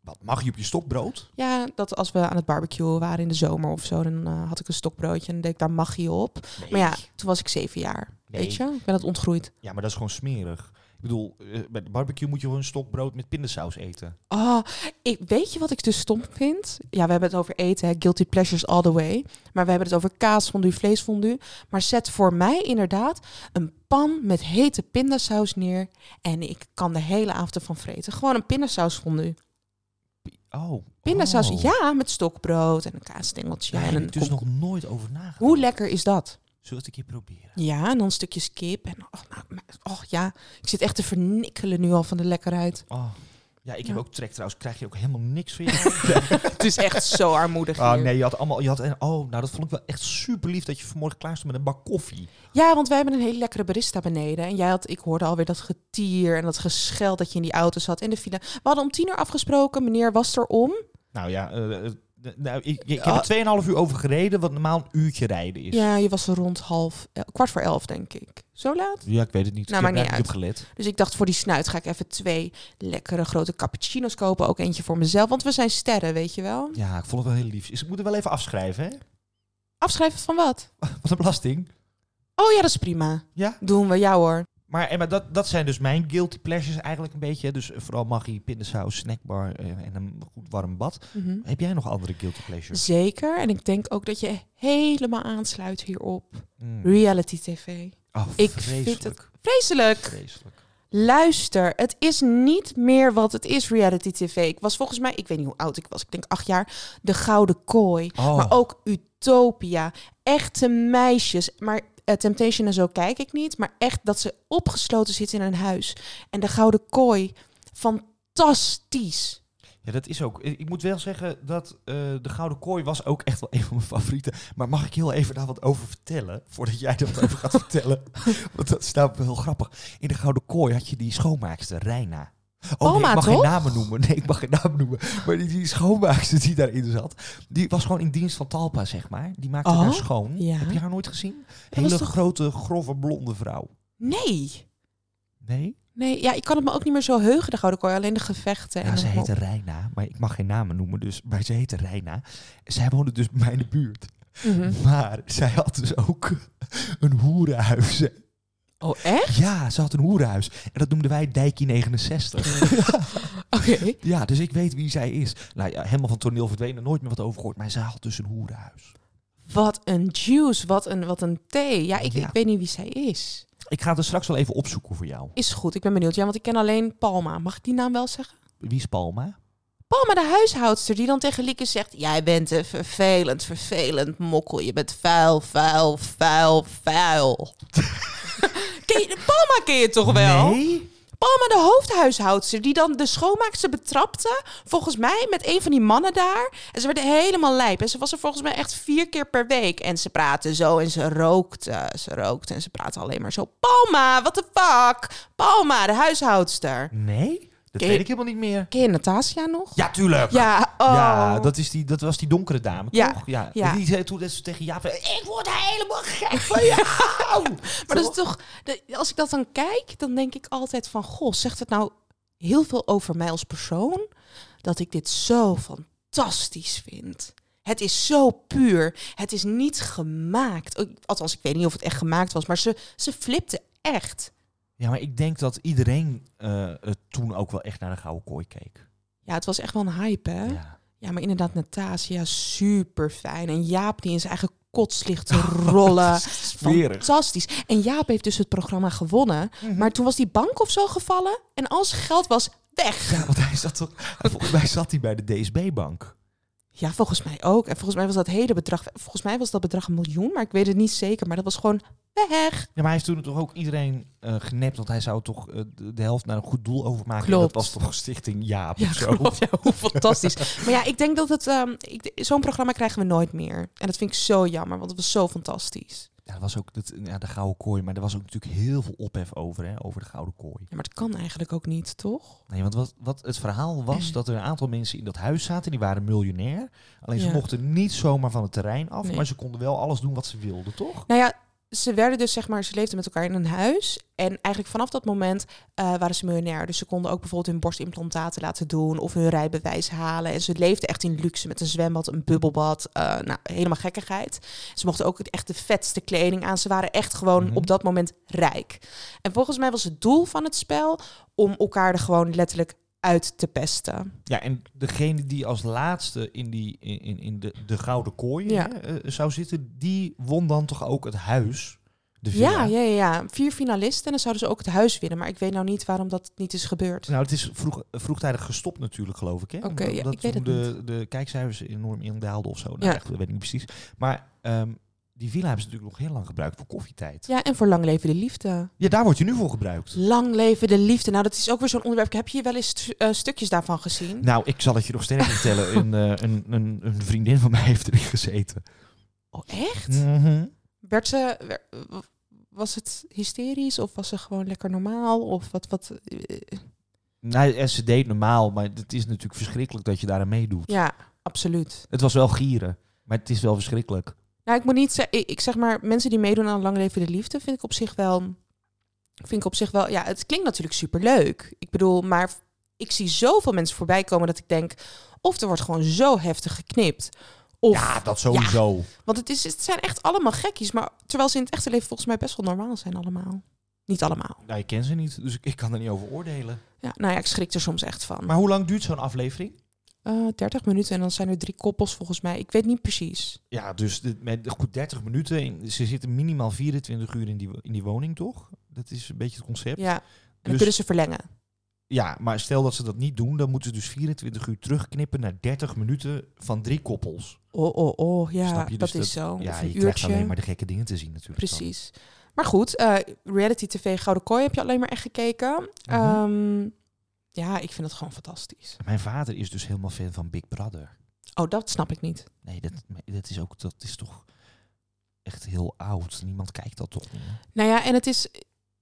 Speaker 2: Wat, magie op je stokbrood?
Speaker 1: Ja, dat als we aan het barbecuen waren in de zomer of zo, dan eh, had ik een stokbroodje en dan deed ik daar magie op.
Speaker 2: Nee.
Speaker 1: Maar ja, toen was ik zeven jaar.
Speaker 2: Nee.
Speaker 1: Weet je, ik ben dat ontgroeid.
Speaker 2: Ja, maar dat is gewoon smerig. Ik bedoel, eh, bij de barbecue moet je gewoon een stokbrood met pindasaus eten.
Speaker 1: Oh, ik, weet je wat ik dus stom vind? Ja, we hebben het over eten, hè? guilty pleasures all the way. Maar we hebben het over kaasfondue, vleesfondue. Maar zet voor mij inderdaad een pan met hete pindasaus neer. En ik kan de hele avond ervan vreten. Gewoon een pindasausfondue.
Speaker 2: Oh.
Speaker 1: Pindasaus,
Speaker 2: oh.
Speaker 1: ja, met stokbrood en een kaasstengeltje.
Speaker 2: Daar
Speaker 1: en
Speaker 2: heb
Speaker 1: een
Speaker 2: ik dus
Speaker 1: kom-
Speaker 2: nog nooit over nagedacht.
Speaker 1: Hoe lekker is dat?
Speaker 2: Zullen we het een keer proberen?
Speaker 1: Ja, en dan stukjes kip. En oh, nou, maar- oh ja, ik zit echt te vernikkelen nu al van de lekkerheid.
Speaker 2: Oh. Ja, ik heb
Speaker 1: Ja.
Speaker 2: ook trek trouwens. Krijg je ook helemaal niks van jou?
Speaker 1: Het is echt zo armoedig
Speaker 2: Oh
Speaker 1: hier.
Speaker 2: nee, je had allemaal. Je had, en- oh, nou dat vond ik wel echt super lief dat je vanmorgen klaar stond met een bak koffie.
Speaker 1: Ja, want wij hebben een hele lekkere barista beneden. En jij had, ik hoorde alweer dat getier en dat gescheld dat je in die auto zat in de file. We hadden om tien uur afgesproken, meneer was er om.
Speaker 2: Nou ja, eh, eh, d- nou, ik, ik
Speaker 1: Ah.
Speaker 2: heb er 2,5 uur over gereden, wat normaal een uurtje rijden is.
Speaker 1: Ja, je was er rond half, eh, kwart voor elf denk ik. Zo laat?
Speaker 2: Ja, ik weet het niet.
Speaker 1: Nou,
Speaker 2: ik heb
Speaker 1: maakt
Speaker 2: daar
Speaker 1: niet
Speaker 2: op gelet.
Speaker 1: Dus ik dacht voor die snuit ga ik even twee lekkere grote cappuccino's kopen. Ook eentje voor mezelf, want we zijn sterren, weet je wel.
Speaker 2: Ja, ik vond het wel heel lief. Dus ik moet er wel even afschrijven, hè?
Speaker 1: Afschrijven van wat?
Speaker 2: Wat een belasting.
Speaker 1: Oh ja, dat is prima.
Speaker 2: Ja.
Speaker 1: Doen we, ja hoor.
Speaker 2: Maar Emma, dat, dat zijn dus mijn guilty pleasures eigenlijk een beetje. hè. Dus eh, vooral magie, pindasaus, snackbar eh, en een goed warm bad.
Speaker 1: Mhm.
Speaker 2: Heb jij nog andere guilty
Speaker 1: Dus
Speaker 2: pleasures?
Speaker 1: Zeker, en ik denk ook dat je helemaal aansluit hierop.
Speaker 2: Mm.
Speaker 1: Reality tv.
Speaker 2: Oh,
Speaker 1: Ik
Speaker 2: vreselijk.
Speaker 1: vind het Vreselijk!
Speaker 2: vreselijk.
Speaker 1: Luister, het is niet meer wat het is, reality tv. Ik was volgens mij, ik weet niet hoe oud ik was, ik denk acht jaar, de Gouden Kooi.
Speaker 2: Oh.
Speaker 1: Maar ook Utopia, echte meisjes. Maar eh, Temptation en zo kijk ik niet. Maar echt dat ze opgesloten zitten in een huis. En de Gouden Kooi, fantastisch.
Speaker 2: Ja, dat is ook. Ik ik moet wel zeggen dat eh, de Gouden Kooi was ook echt wel een van mijn favorieten. Maar mag ik heel even daar wat over vertellen? Voordat jij er wat over gaat vertellen. Want dat is namelijk wel heel grappig. In de Gouden Kooi had je die schoonmaakster, Reina. Oh, nee,
Speaker 1: Oma,
Speaker 2: ik mag geen
Speaker 1: toch?
Speaker 2: namen noemen. Nee, ik mag geen namen noemen. Maar die, die schoonmaakster die daarin zat, die was gewoon in dienst van Talpa, zeg maar. Die maakte
Speaker 1: Oh,
Speaker 2: haar schoon.
Speaker 1: ja.
Speaker 2: Heb je haar nooit gezien?
Speaker 1: was
Speaker 2: Hele
Speaker 1: toch-
Speaker 2: grote, grove, blonde vrouw.
Speaker 1: Nee.
Speaker 2: Nee?
Speaker 1: Nee, ja, ik kan het me ook niet meer zo heugen, de Gouden Kooi. Alleen de gevechten.
Speaker 2: Ja,
Speaker 1: en
Speaker 2: ze
Speaker 1: noem maar
Speaker 2: heette
Speaker 1: op.
Speaker 2: Reina, maar ik mag geen namen noemen, dus, maar ze heette Reina. Zij woonde dus bij mij in de buurt.
Speaker 1: Mhm.
Speaker 2: Maar zij had dus ook een hoerenhuis.
Speaker 1: Oh, echt?
Speaker 2: Ja, ze had een hoerenhuis. En dat noemden wij Dijkie
Speaker 1: Mhm.
Speaker 2: 69.
Speaker 1: Oké.
Speaker 2: ja, dus ik weet wie zij is. Nou ja, helemaal van toneel verdwenen, nooit meer wat over gehoord. Maar zij had dus een hoerenhuis.
Speaker 1: Wat een juice, wat een, wat een thee. Ja ik,
Speaker 2: Ja.
Speaker 1: ik weet niet wie zij is.
Speaker 2: Ik ga het er straks wel even opzoeken voor jou.
Speaker 1: Is goed, ik ben benieuwd. Ja, want ik ken alleen Palma. Mag ik die naam wel zeggen?
Speaker 2: Wie is Palma?
Speaker 1: Palma, de huishoudster, die dan tegen Lieke zegt... Jij bent een vervelend, vervelend mokkel. Je bent vuil, vuil, vuil, vuil. ken je, Palma ken je toch wel?
Speaker 2: Nee?
Speaker 1: Palma, de hoofdhuishoudster, die dan de schoonmaakster betrapte... volgens mij met een van die mannen daar. En ze werden helemaal lijp. En ze was er volgens mij echt vier keer per week. En ze praatte zo en ze rookte. Ze rookte en ze praatte alleen maar zo... Palma, what the fuck? Palma, de huishoudster.
Speaker 2: Nee? Dat
Speaker 1: Ken-
Speaker 2: weet ik helemaal niet meer.
Speaker 1: Ken je Natasja nog?
Speaker 2: Ja, tuurlijk.
Speaker 1: Ja, oh.
Speaker 2: Ja, dat, is die, dat was die donkere dame,
Speaker 1: Ja,
Speaker 2: toch? Ja.
Speaker 1: ja.
Speaker 2: Die zei toen net zo tegen Jaap... eh, Ik word helemaal gek van jou!
Speaker 1: Maar dat is toch, de- als ik dat dan kijk, dan denk ik altijd van, goh, zegt het nou heel veel over mij als persoon dat ik dit zo fantastisch vind. Het is zo puur. Het is niet gemaakt. Ik- Althans, ik weet niet of het echt gemaakt was, maar ze, ze flipte echt.
Speaker 2: Ja, maar ik denk dat iedereen eh, eh, toen ook wel echt naar de gouden kooi keek.
Speaker 1: Ja, het was echt wel een hype, hè? Ja,
Speaker 2: Ja.
Speaker 1: maar inderdaad, Natasja, super fijn. En Jaap die in zijn eigen kots ligt te rollen.
Speaker 2: Smerig.
Speaker 1: Fantastisch. En Jaap heeft dus het programma gewonnen.
Speaker 2: Mhm.
Speaker 1: Maar toen was die bank of zo gevallen. En al zijn geld was weg.
Speaker 2: Ja, want hij zat toch... Volgens mij zat hij bij de DSB-bank.
Speaker 1: Ja, volgens mij ook. En volgens mij was dat hele bedrag. Volgens mij was dat bedrag een miljoen, maar ik weet het niet zeker. Maar dat was gewoon weg.
Speaker 2: Ja, maar hij heeft toen toch ook iedereen eh genept... want hij zou toch eh, de, de helft naar een goed doel overmaken.
Speaker 1: Klopt.
Speaker 2: En dat was toch Stichting Jaap
Speaker 1: Ja,
Speaker 2: of zo?
Speaker 1: klopt. Ja, hoe fantastisch. maar ja, ik denk dat het. ehm, ik- Zo'n programma krijgen we nooit meer. En dat vind ik zo jammer, want het was zo fantastisch.
Speaker 2: Ja, dat was ook dat, ja, de gouden kooi. Maar er was ook natuurlijk heel veel ophef over, hè, over de gouden kooi.
Speaker 1: Ja, maar dat kan eigenlijk ook niet, toch?
Speaker 2: Nee, want wat, wat het verhaal was dat er een aantal mensen in dat huis zaten, die waren miljonair. Alleen ze
Speaker 1: Ja.
Speaker 2: mochten niet zomaar van het terrein af,
Speaker 1: Nee.
Speaker 2: maar ze konden wel alles doen wat ze wilden, toch?
Speaker 1: Nou ja, ze werden dus zeg maar. Ze leefden met elkaar in een huis. En eigenlijk vanaf dat moment eh, waren ze miljonair. Dus ze konden ook bijvoorbeeld hun borstimplantaten laten doen. of hun rijbewijs halen. En ze leefden echt in luxe met een zwembad, een bubbelbad. eh, nou, helemaal gekkigheid. Ze mochten ook echt de vetste kleding aan. Ze waren echt gewoon
Speaker 2: Mhm.
Speaker 1: op dat moment rijk. En volgens mij was het doel van het spel om elkaar er gewoon letterlijk uit te pesten.
Speaker 2: Ja, en degene die als laatste in, die, in- in, in de, de gouden kooi
Speaker 1: Ja.
Speaker 2: hè, eh, zou zitten, die won dan toch ook het huis? De villa.
Speaker 1: Ja, ja, ja, ja. Vier finalisten en dan zouden ze ook het huis winnen. Maar ik weet nou niet waarom dat niet is gebeurd.
Speaker 2: Nou, het is vroeg, vroegtijdig gestopt natuurlijk, geloof ik. hè?
Speaker 1: Oké,
Speaker 2: Omdat-
Speaker 1: ja,
Speaker 2: omdat
Speaker 1: ik weet
Speaker 2: toen
Speaker 1: het
Speaker 2: de, de kijkcijfers enorm indaalden of zo. Nou,
Speaker 1: Ja.
Speaker 2: echt, dat weet ik niet precies. Maar ehm, die villa hebben ze natuurlijk nog heel lang gebruikt voor koffietijd.
Speaker 1: Ja, en voor lang leven de liefde.
Speaker 2: Ja, daar wordt je nu voor gebruikt.
Speaker 1: Lang leven de liefde. Nou, dat is ook weer zo'n onderwerp. Heb je wel eens stu- eh, stukjes daarvan gezien?
Speaker 2: Nou, ik zal het je nog sterker vertellen. Een, eh, een, een, een vriendin van mij heeft erin gezeten. Mhm.
Speaker 1: Oh, echt? Werd ze, wer- w- was het hysterisch of was ze gewoon lekker normaal? Of wat, wat, eh,
Speaker 2: Nou, en ze deed normaal, maar het is natuurlijk verschrikkelijk dat je daar aan meedoet.
Speaker 1: ja, absoluut.
Speaker 2: Het was wel gieren, maar het is wel verschrikkelijk.
Speaker 1: Nou, ik moet niet zeggen, ik ik zeg maar, mensen die meedoen aan Lang Leven de Liefde vind ik op zich wel, vind ik op zich wel, ja, het klinkt natuurlijk superleuk. Ik bedoel, maar ik zie zoveel mensen voorbij komen dat ik denk, of er wordt gewoon zo heftig geknipt. Of,
Speaker 2: Ja, dat sowieso.
Speaker 1: Want het, is, het zijn echt allemaal gekkies. Maar terwijl ze in het echte leven volgens mij best wel normaal zijn allemaal. Niet allemaal.
Speaker 2: Nou, ik ken ze niet, dus ik, ik kan er niet over oordelen.
Speaker 1: Ja, nou ja, ik schrik er soms echt van.
Speaker 2: Maar hoe lang duurt zo'n aflevering?
Speaker 1: Eh, 30 minuten en dan zijn er drie koppels volgens mij. Ik weet niet precies.
Speaker 2: Ja, dus dit met goed 30 minuten. in- Ze zitten minimaal 24 uur in die, wo- in die woning, toch? Dat is een beetje het concept.
Speaker 1: Ja. En dan
Speaker 2: Dus-
Speaker 1: kunnen ze verlengen.
Speaker 2: Ja, maar stel dat ze dat niet doen, dan moeten ze dus 24 uur terugknippen naar 30 minuten van drie koppels.
Speaker 1: Oh, oh, oh. Ja,
Speaker 2: Snap je?
Speaker 1: dat,
Speaker 2: Dus
Speaker 1: is zo.
Speaker 2: ja,
Speaker 1: of
Speaker 2: je
Speaker 1: een
Speaker 2: krijgt
Speaker 1: uurtje.
Speaker 2: alleen maar de gekke dingen te zien natuurlijk. dan.
Speaker 1: Precies. Maar goed, eh, reality tv Gouden Kooi heb je alleen maar echt gekeken.
Speaker 2: Mhm.
Speaker 1: Ehm, Ja, ik vind het gewoon fantastisch.
Speaker 2: Mijn vader is dus helemaal fan van Big Brother.
Speaker 1: Oh, dat snap ik niet.
Speaker 2: Nee, dat, maar dat is ook, dat is toch echt heel oud. Niemand kijkt dat toch meer.
Speaker 1: Nou ja, en het is...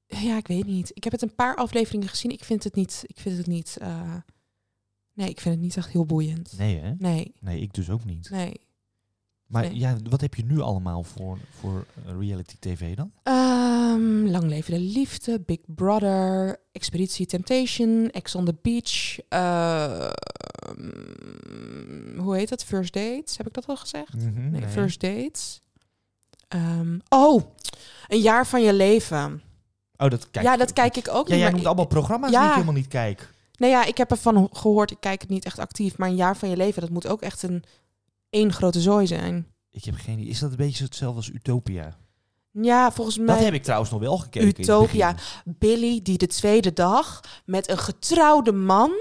Speaker 1: Ja, ik weet niet. Ik heb het een paar afleveringen gezien. Ik vind het niet... Ik vind het niet... eh, nee, ik vind het niet echt heel boeiend.
Speaker 2: Nee, hè?
Speaker 1: Nee,
Speaker 2: Nee, ik dus ook niet.
Speaker 1: nee.
Speaker 2: Maar
Speaker 1: Nee.
Speaker 2: ja, wat heb je nu allemaal voor, voor eh, reality tv dan?
Speaker 1: Ehm, lang leven de liefde, Big Brother, Expeditie Temptation, Ex on the Beach. eh, ehm, hoe heet dat? First Dates, heb ik dat al gezegd?
Speaker 2: Mhm.
Speaker 1: Nee, First Dates. Ehm, oh, een jaar van je leven.
Speaker 2: Oh, dat kijk
Speaker 1: ja, dat kijk ik ook niet.
Speaker 2: Ja, jij
Speaker 1: maar
Speaker 2: noemt
Speaker 1: ik-
Speaker 2: allemaal programma's die
Speaker 1: Ja.
Speaker 2: ik helemaal niet kijk.
Speaker 1: Nee, Nou ja, ik heb ervan ho- gehoord, ik kijk het niet echt actief. Maar een jaar van je leven, dat moet ook echt een één grote zooi zijn.
Speaker 2: Ik heb geen idee. Is dat een beetje hetzelfde als Utopia?
Speaker 1: Ja, volgens mij...
Speaker 2: Dat heb ik trouwens nog wel gekeken. in het
Speaker 1: Utopia.
Speaker 2: begin.
Speaker 1: Billy die de tweede dag met een getrouwde man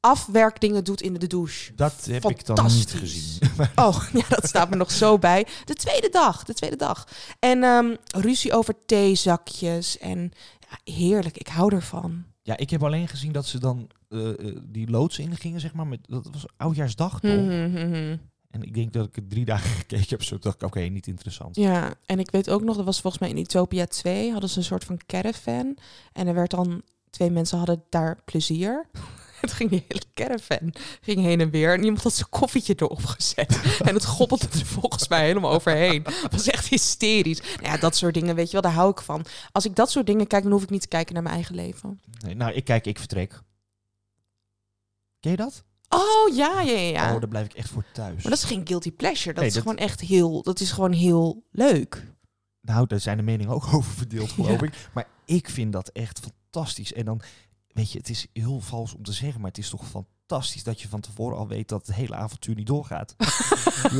Speaker 1: afwerkdingen doet in de douche.
Speaker 2: Dat heb ik dan niet
Speaker 1: Fantastisch.
Speaker 2: gezien.
Speaker 1: Oh, ja, dat staat me nog zo bij. De tweede dag, de tweede dag. En ehm, ruzie over theezakjes en ja, heerlijk, ik hou ervan.
Speaker 2: Ja, ik heb alleen gezien dat ze dan eh, eh, die loods ingingen, zeg maar. Met, dat was oudjaarsdag toch?
Speaker 1: Mhm, mhm.
Speaker 2: En ik denk dat ik het drie dagen gekeken heb. Zo dacht ik, oké, niet interessant.
Speaker 1: Ja, en ik weet ook nog, dat was volgens mij in Utopia 2, hadden ze een soort van caravan. En er werd dan, twee mensen hadden daar plezier. Het ging de hele caravan ging heen en weer. En iemand had zijn koffietje erop gezet. En het gobbelde er volgens mij helemaal overheen. Het was echt hysterisch. Nou ja, dat soort dingen, weet je wel, daar hou ik van. Als ik dat soort dingen kijk, dan hoef ik niet te kijken naar mijn eigen leven.
Speaker 2: Nee, nou, ik kijk, ik vertrek. Ken je dat?
Speaker 1: Oh, ja, ja, ja. ja.
Speaker 2: Oh, daar blijf ik echt voor thuis.
Speaker 1: Maar dat is geen guilty pleasure. Dat
Speaker 2: Nee,
Speaker 1: is
Speaker 2: dat-
Speaker 1: gewoon echt heel, dat is gewoon heel leuk.
Speaker 2: Nou, daar zijn de meningen ook over verdeeld, geloof
Speaker 1: Ja.
Speaker 2: ik. Maar ik vind dat echt fantastisch. En dan, weet je, het is heel vals om te zeggen, maar het is toch fantastisch dat je van tevoren al weet dat het hele avontuur niet doorgaat.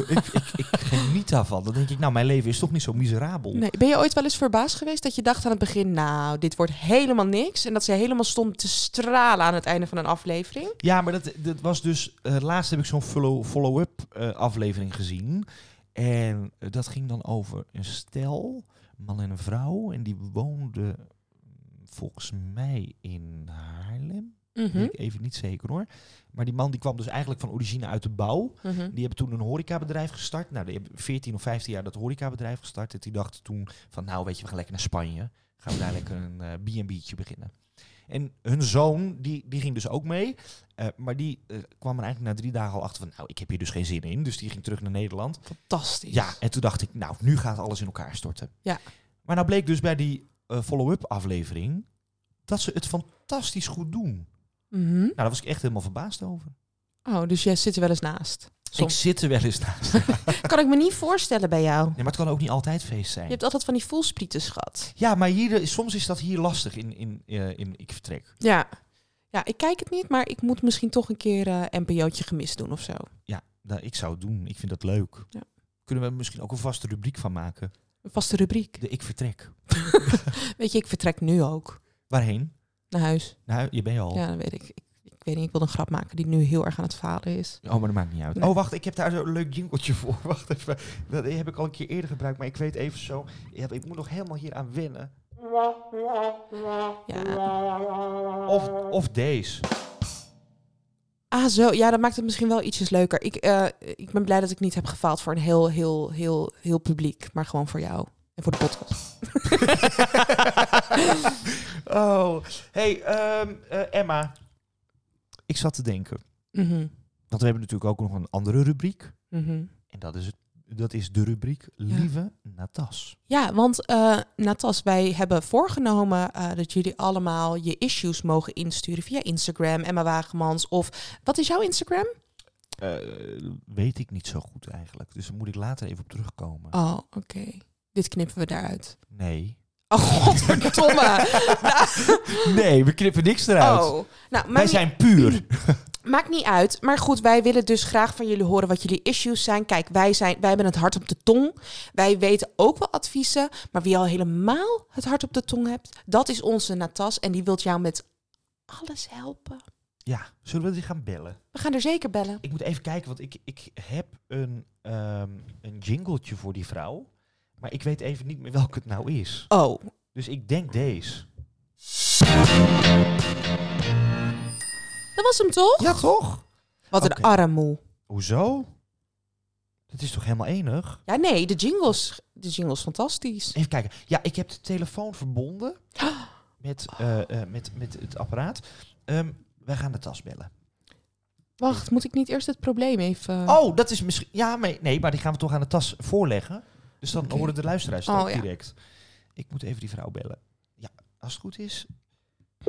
Speaker 2: ik, ik, ik geniet daarvan. Dan denk ik, nou, mijn leven is toch niet zo miserabel.
Speaker 1: Nee, ben je ooit wel eens verbaasd geweest dat je dacht aan het begin, nou, dit wordt helemaal niks. En dat ze helemaal stond te stralen aan het einde van een aflevering.
Speaker 2: Ja, maar dat, dat was dus. eh, laatst heb ik zo'n follow- follow-up eh, aflevering gezien. En eh, dat ging dan over een stel, een man en een vrouw. En die woonden mm, volgens mij in Haarlem.
Speaker 1: Mhm. Mm-hmm.
Speaker 2: Weet ik even niet zeker hoor. Maar die man die kwam dus eigenlijk van origine uit de bouw.
Speaker 1: Mhm.
Speaker 2: Die hebben toen een horecabedrijf gestart. Nou, die hebben 14 of 15 jaar dat horecabedrijf gestart. En die dachten toen van, nou weet je, we gaan lekker naar Spanje. Gaan we daar lekker een eh, B&B'tje beginnen. En hun zoon, die, die ging dus ook mee. Eh, maar die eh, kwam er eigenlijk na drie dagen al achter van, nou, ik heb hier dus geen zin in. Dus die ging terug naar Nederland.
Speaker 1: Fantastisch.
Speaker 2: Ja, en toen dacht ik, nou, nu gaat alles in elkaar storten.
Speaker 1: Ja.
Speaker 2: Maar nou bleek dus bij die eh, follow-up aflevering dat ze het fantastisch goed doen. Nou,
Speaker 1: Mhm.
Speaker 2: daar was ik echt helemaal verbaasd over.
Speaker 1: Oh, dus jij zit er wel eens naast.
Speaker 2: Ik
Speaker 1: Soms.
Speaker 2: zit er wel eens naast.
Speaker 1: Kan ik me niet voorstellen bij jou.
Speaker 2: Nee, maar het kan ook niet altijd feest zijn.
Speaker 1: Je hebt altijd van die voelsprieten, schat.
Speaker 2: Ja, maar hier, eh, soms is dat hier lastig in, in, eh, in Ik Vertrek.
Speaker 1: Ja. Ja, ik kijk het niet, maar ik moet misschien toch een keer eh NPO'tje gemist doen of zo.
Speaker 2: Ja, nou, ik zou het doen. Ik vind dat leuk.
Speaker 1: Ja.
Speaker 2: Kunnen we er misschien ook een vaste rubriek van maken?
Speaker 1: Een vaste rubriek.
Speaker 2: De Ik Vertrek.
Speaker 1: Weet je, ik vertrek nu ook
Speaker 2: Waarheen?
Speaker 1: naar huis.
Speaker 2: Nou, je bent al.
Speaker 1: Ja, dat weet ik. ik. Ik weet niet, ik wilde een grap maken die nu heel erg aan het falen is.
Speaker 2: Oh, maar dat maakt niet uit.
Speaker 1: Nee.
Speaker 2: Oh, wacht, ik heb daar zo'n leuk jingletje voor. Wacht even. Dat heb ik al een keer eerder gebruikt, maar ik weet even zo. Ja, ik moet nog helemaal hier aan wennen.
Speaker 1: Ja.
Speaker 2: Of, of deze.
Speaker 1: Ah, zo. Ja, dat maakt het misschien wel ietsjes leuker. Ik, eh, ik ben blij dat ik niet heb gefaald voor een heel, heel, heel, heel publiek. Maar gewoon voor jou. En voor de podcast.
Speaker 2: oh. Hey, ehm, eh, Emma. Ik zat te denken.
Speaker 1: Mhm,
Speaker 2: Want we hebben natuurlijk ook nog een andere rubriek.
Speaker 1: mhm.
Speaker 2: En dat is, het, dat is de rubriek Lieve Natas.
Speaker 1: Ja, want eh, Natas, wij hebben voorgenomen eh, dat jullie allemaal je issues mogen insturen via Instagram, Emma Wagemans. Of wat is jouw Instagram?
Speaker 2: weet ik niet zo goed eigenlijk. Dus daar moet ik later even op terugkomen.
Speaker 1: Oh, oké. Dit knippen we daaruit.
Speaker 2: Nee.
Speaker 1: Oh, godverdomme. Nou,
Speaker 2: Nee, we knippen niks eruit.
Speaker 1: oh. Nou,
Speaker 2: Wij
Speaker 1: maar
Speaker 2: zijn puur.
Speaker 1: Maakt niet uit. Maar goed, wij willen dus graag van jullie horen wat jullie issues zijn. Kijk, wij, zijn, wij hebben het hart op de tong. Wij weten ook wel adviezen. Maar wie al helemaal het hart op de tong hebt, dat is onze Natas. En die wilt jou met alles helpen.
Speaker 2: Ja, zullen we die gaan bellen?
Speaker 1: We gaan er zeker bellen.
Speaker 2: Ik moet even kijken, want ik, ik heb een, ehm een jingletje voor die vrouw. Maar ik weet even niet meer welke het nou is.
Speaker 1: Oh,
Speaker 2: Dus ik denk deze.
Speaker 1: Dat was hem toch?
Speaker 2: Ja, toch?
Speaker 1: Wat
Speaker 2: Oké.
Speaker 1: een armoe.
Speaker 2: Hoezo? Dat is toch helemaal enig?
Speaker 1: Ja, nee, de jingles. De jingles fantastisch.
Speaker 2: Even kijken. Ja, ik heb de telefoon verbonden met, eh, eh, met, met het apparaat. Ehm, wij gaan de tas bellen.
Speaker 1: Wacht, moet ik niet eerst het probleem even...
Speaker 2: Oh, dat is misschien... Ja, maar, nee, maar die gaan we toch aan de tas voorleggen. Dus dan
Speaker 1: Oké.
Speaker 2: horen de luisteraars dat
Speaker 1: Oh, ja.
Speaker 2: direct. Ik moet even die vrouw bellen. Ja, als het goed is...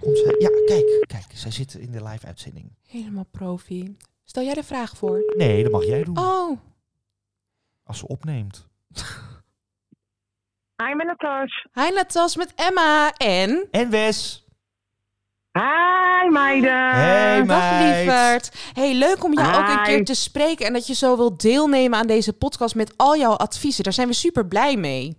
Speaker 2: Komt zij... Ja, kijk, kijk. Zij zit in de live-uitzending.
Speaker 1: Helemaal profi. Stel jij de vraag voor.
Speaker 2: Nee, dat mag jij doen.
Speaker 1: Oh,
Speaker 2: Als ze opneemt.
Speaker 4: Hi, met Natas.
Speaker 1: hi Natas met Emma en...
Speaker 2: En Wes.
Speaker 4: Hi, meiden.
Speaker 2: Hey,
Speaker 1: Ah, Eh, Dag
Speaker 2: meid.
Speaker 1: lieverd. Hey, leuk om jou ook een
Speaker 4: Hi.
Speaker 1: keer te spreken en dat je zo wilt deelnemen aan deze podcast met al jouw adviezen. Daar zijn we super blij mee.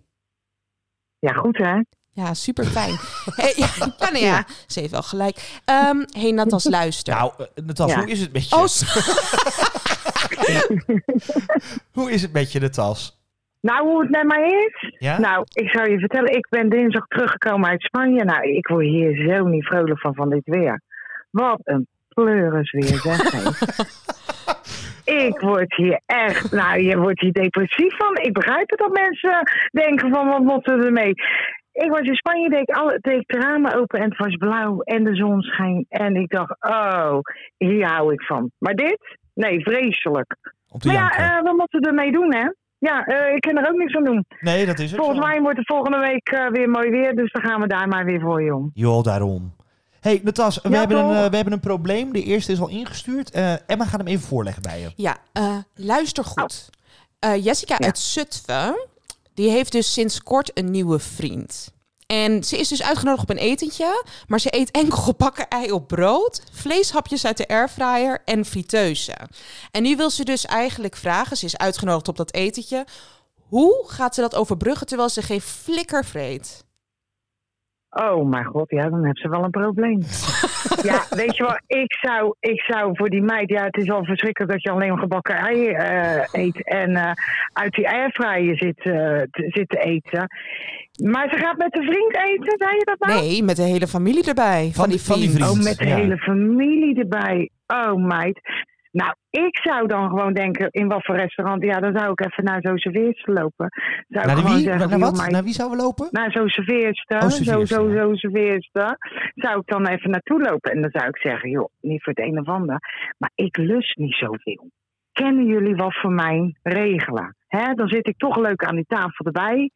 Speaker 4: Ja, goed hè?
Speaker 1: Ja, super fijn. hey, ja, ja, nou ja, ze heeft wel gelijk. Ehm hey Natas, luister.
Speaker 2: Nou, eh, Natas,
Speaker 4: Ja.
Speaker 2: hoe is het met je?
Speaker 1: oh, s-
Speaker 2: Hoe is het met je, Natas?
Speaker 4: Nou, hoe het met mij is?
Speaker 2: Ja?
Speaker 4: Nou, ik zou je vertellen, ik ben dinsdag teruggekomen uit Spanje. Nou, ik word hier zo niet vrolijk van, van dit weer. Wat een pleuris weer, zeg hé. Ik word hier echt, nou, je wordt hier depressief van. Ik begrijp het dat mensen denken van, wat moeten we ermee? Ik was in Spanje, deed ik, alle, deed ik de ramen open en het was blauw en de zon scheen. En ik dacht, oh, hier hou ik van. Maar dit? Nee, vreselijk.
Speaker 2: Om te
Speaker 1: nou
Speaker 4: Maar
Speaker 2: janken.
Speaker 4: ja, eh, we moeten ermee doen, hè? Ja, eh, ik kan er ook niks aan doen.
Speaker 2: nee, dat is het.
Speaker 4: Volgens mij wordt het volgende week eh, weer mooi weer, dus dan gaan we daar maar weer voor je om.
Speaker 2: Joh, daarom. hey, Natas, we,
Speaker 4: Ja,
Speaker 2: hebben een,
Speaker 4: toch?
Speaker 2: eh, we hebben een probleem. De eerste is al ingestuurd. Eh, Emma gaat hem even voorleggen bij je.
Speaker 1: ja, eh, luister goed. Eh, Jessica
Speaker 4: Oh. Ja.
Speaker 1: uit Zutphen, die heeft dus sinds kort een nieuwe vriend. En ze is dus uitgenodigd op een etentje, maar ze eet enkel gebakken ei op brood, vleeshapjes uit de airfryer en friteuse. En nu wil ze dus eigenlijk vragen, ze is uitgenodigd op dat etentje, hoe gaat ze dat overbruggen terwijl ze geen flikker vreet?
Speaker 4: Oh, mijn god, ja, dan heb ze wel een probleem. ja, weet je wel, ik zou, ik zou voor die meid, ja, het is al verschrikkelijk dat je alleen maar gebakken ei eh, eet en eh, uit die airfryer zit, eh, te- zit te eten. Maar ze gaat met een vriend eten, zei je dat nou?
Speaker 1: Nee, met de hele familie erbij. Van,
Speaker 2: die-
Speaker 1: die,
Speaker 2: van die
Speaker 1: vriend.
Speaker 2: vriend.
Speaker 4: Oh, met de
Speaker 2: Ja.
Speaker 4: hele familie erbij. Oh, meid. Nou, ik zou dan gewoon denken, in wat voor restaurant? Ja, dan zou ik even naar zo'n serveerster lopen. Zou ik
Speaker 2: Naar, de
Speaker 4: gewoon
Speaker 2: wie?
Speaker 4: zeggen,
Speaker 2: naar
Speaker 4: joh, Nou-
Speaker 2: wat?
Speaker 4: meid,
Speaker 2: Naar wie zouden we lopen?
Speaker 4: naar zo'n serveerster,
Speaker 2: Oh,
Speaker 4: zo,
Speaker 2: serveerster,
Speaker 4: zo,
Speaker 2: ja.
Speaker 4: zo serveerster, zou ik dan even naartoe lopen. En dan zou ik zeggen, joh, niet voor het een of ander, maar ik lust niet zoveel. Kennen jullie wat voor mij regelen? Hè, dan zit ik toch leuk aan die tafel erbij.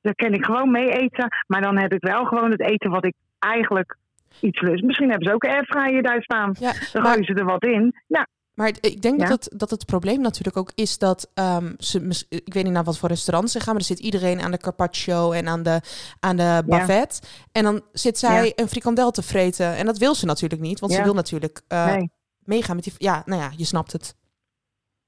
Speaker 4: Dan kan ik gewoon mee eten, maar dan heb ik wel gewoon het eten wat ik eigenlijk iets lust. Misschien hebben ze ook een airfryer daar staan.
Speaker 1: Ja,
Speaker 4: Dan
Speaker 1: maar-
Speaker 4: gooien ze er wat in. Ja,
Speaker 1: Maar het- ik denk
Speaker 4: Ja.
Speaker 1: dat, het, dat het probleem natuurlijk ook is dat ehm, ze, mis- ik weet niet naar wat voor restaurant ze gaan, maar er zit iedereen aan de carpaccio en aan de, aan de bavet. En dan zit zij
Speaker 4: Ja.
Speaker 1: een frikandel te vreten. En dat wil ze natuurlijk niet, want ze
Speaker 4: Ja.
Speaker 1: wil natuurlijk eh,
Speaker 4: nee.
Speaker 1: meegaan met die. Ja, nou ja, je snapt het.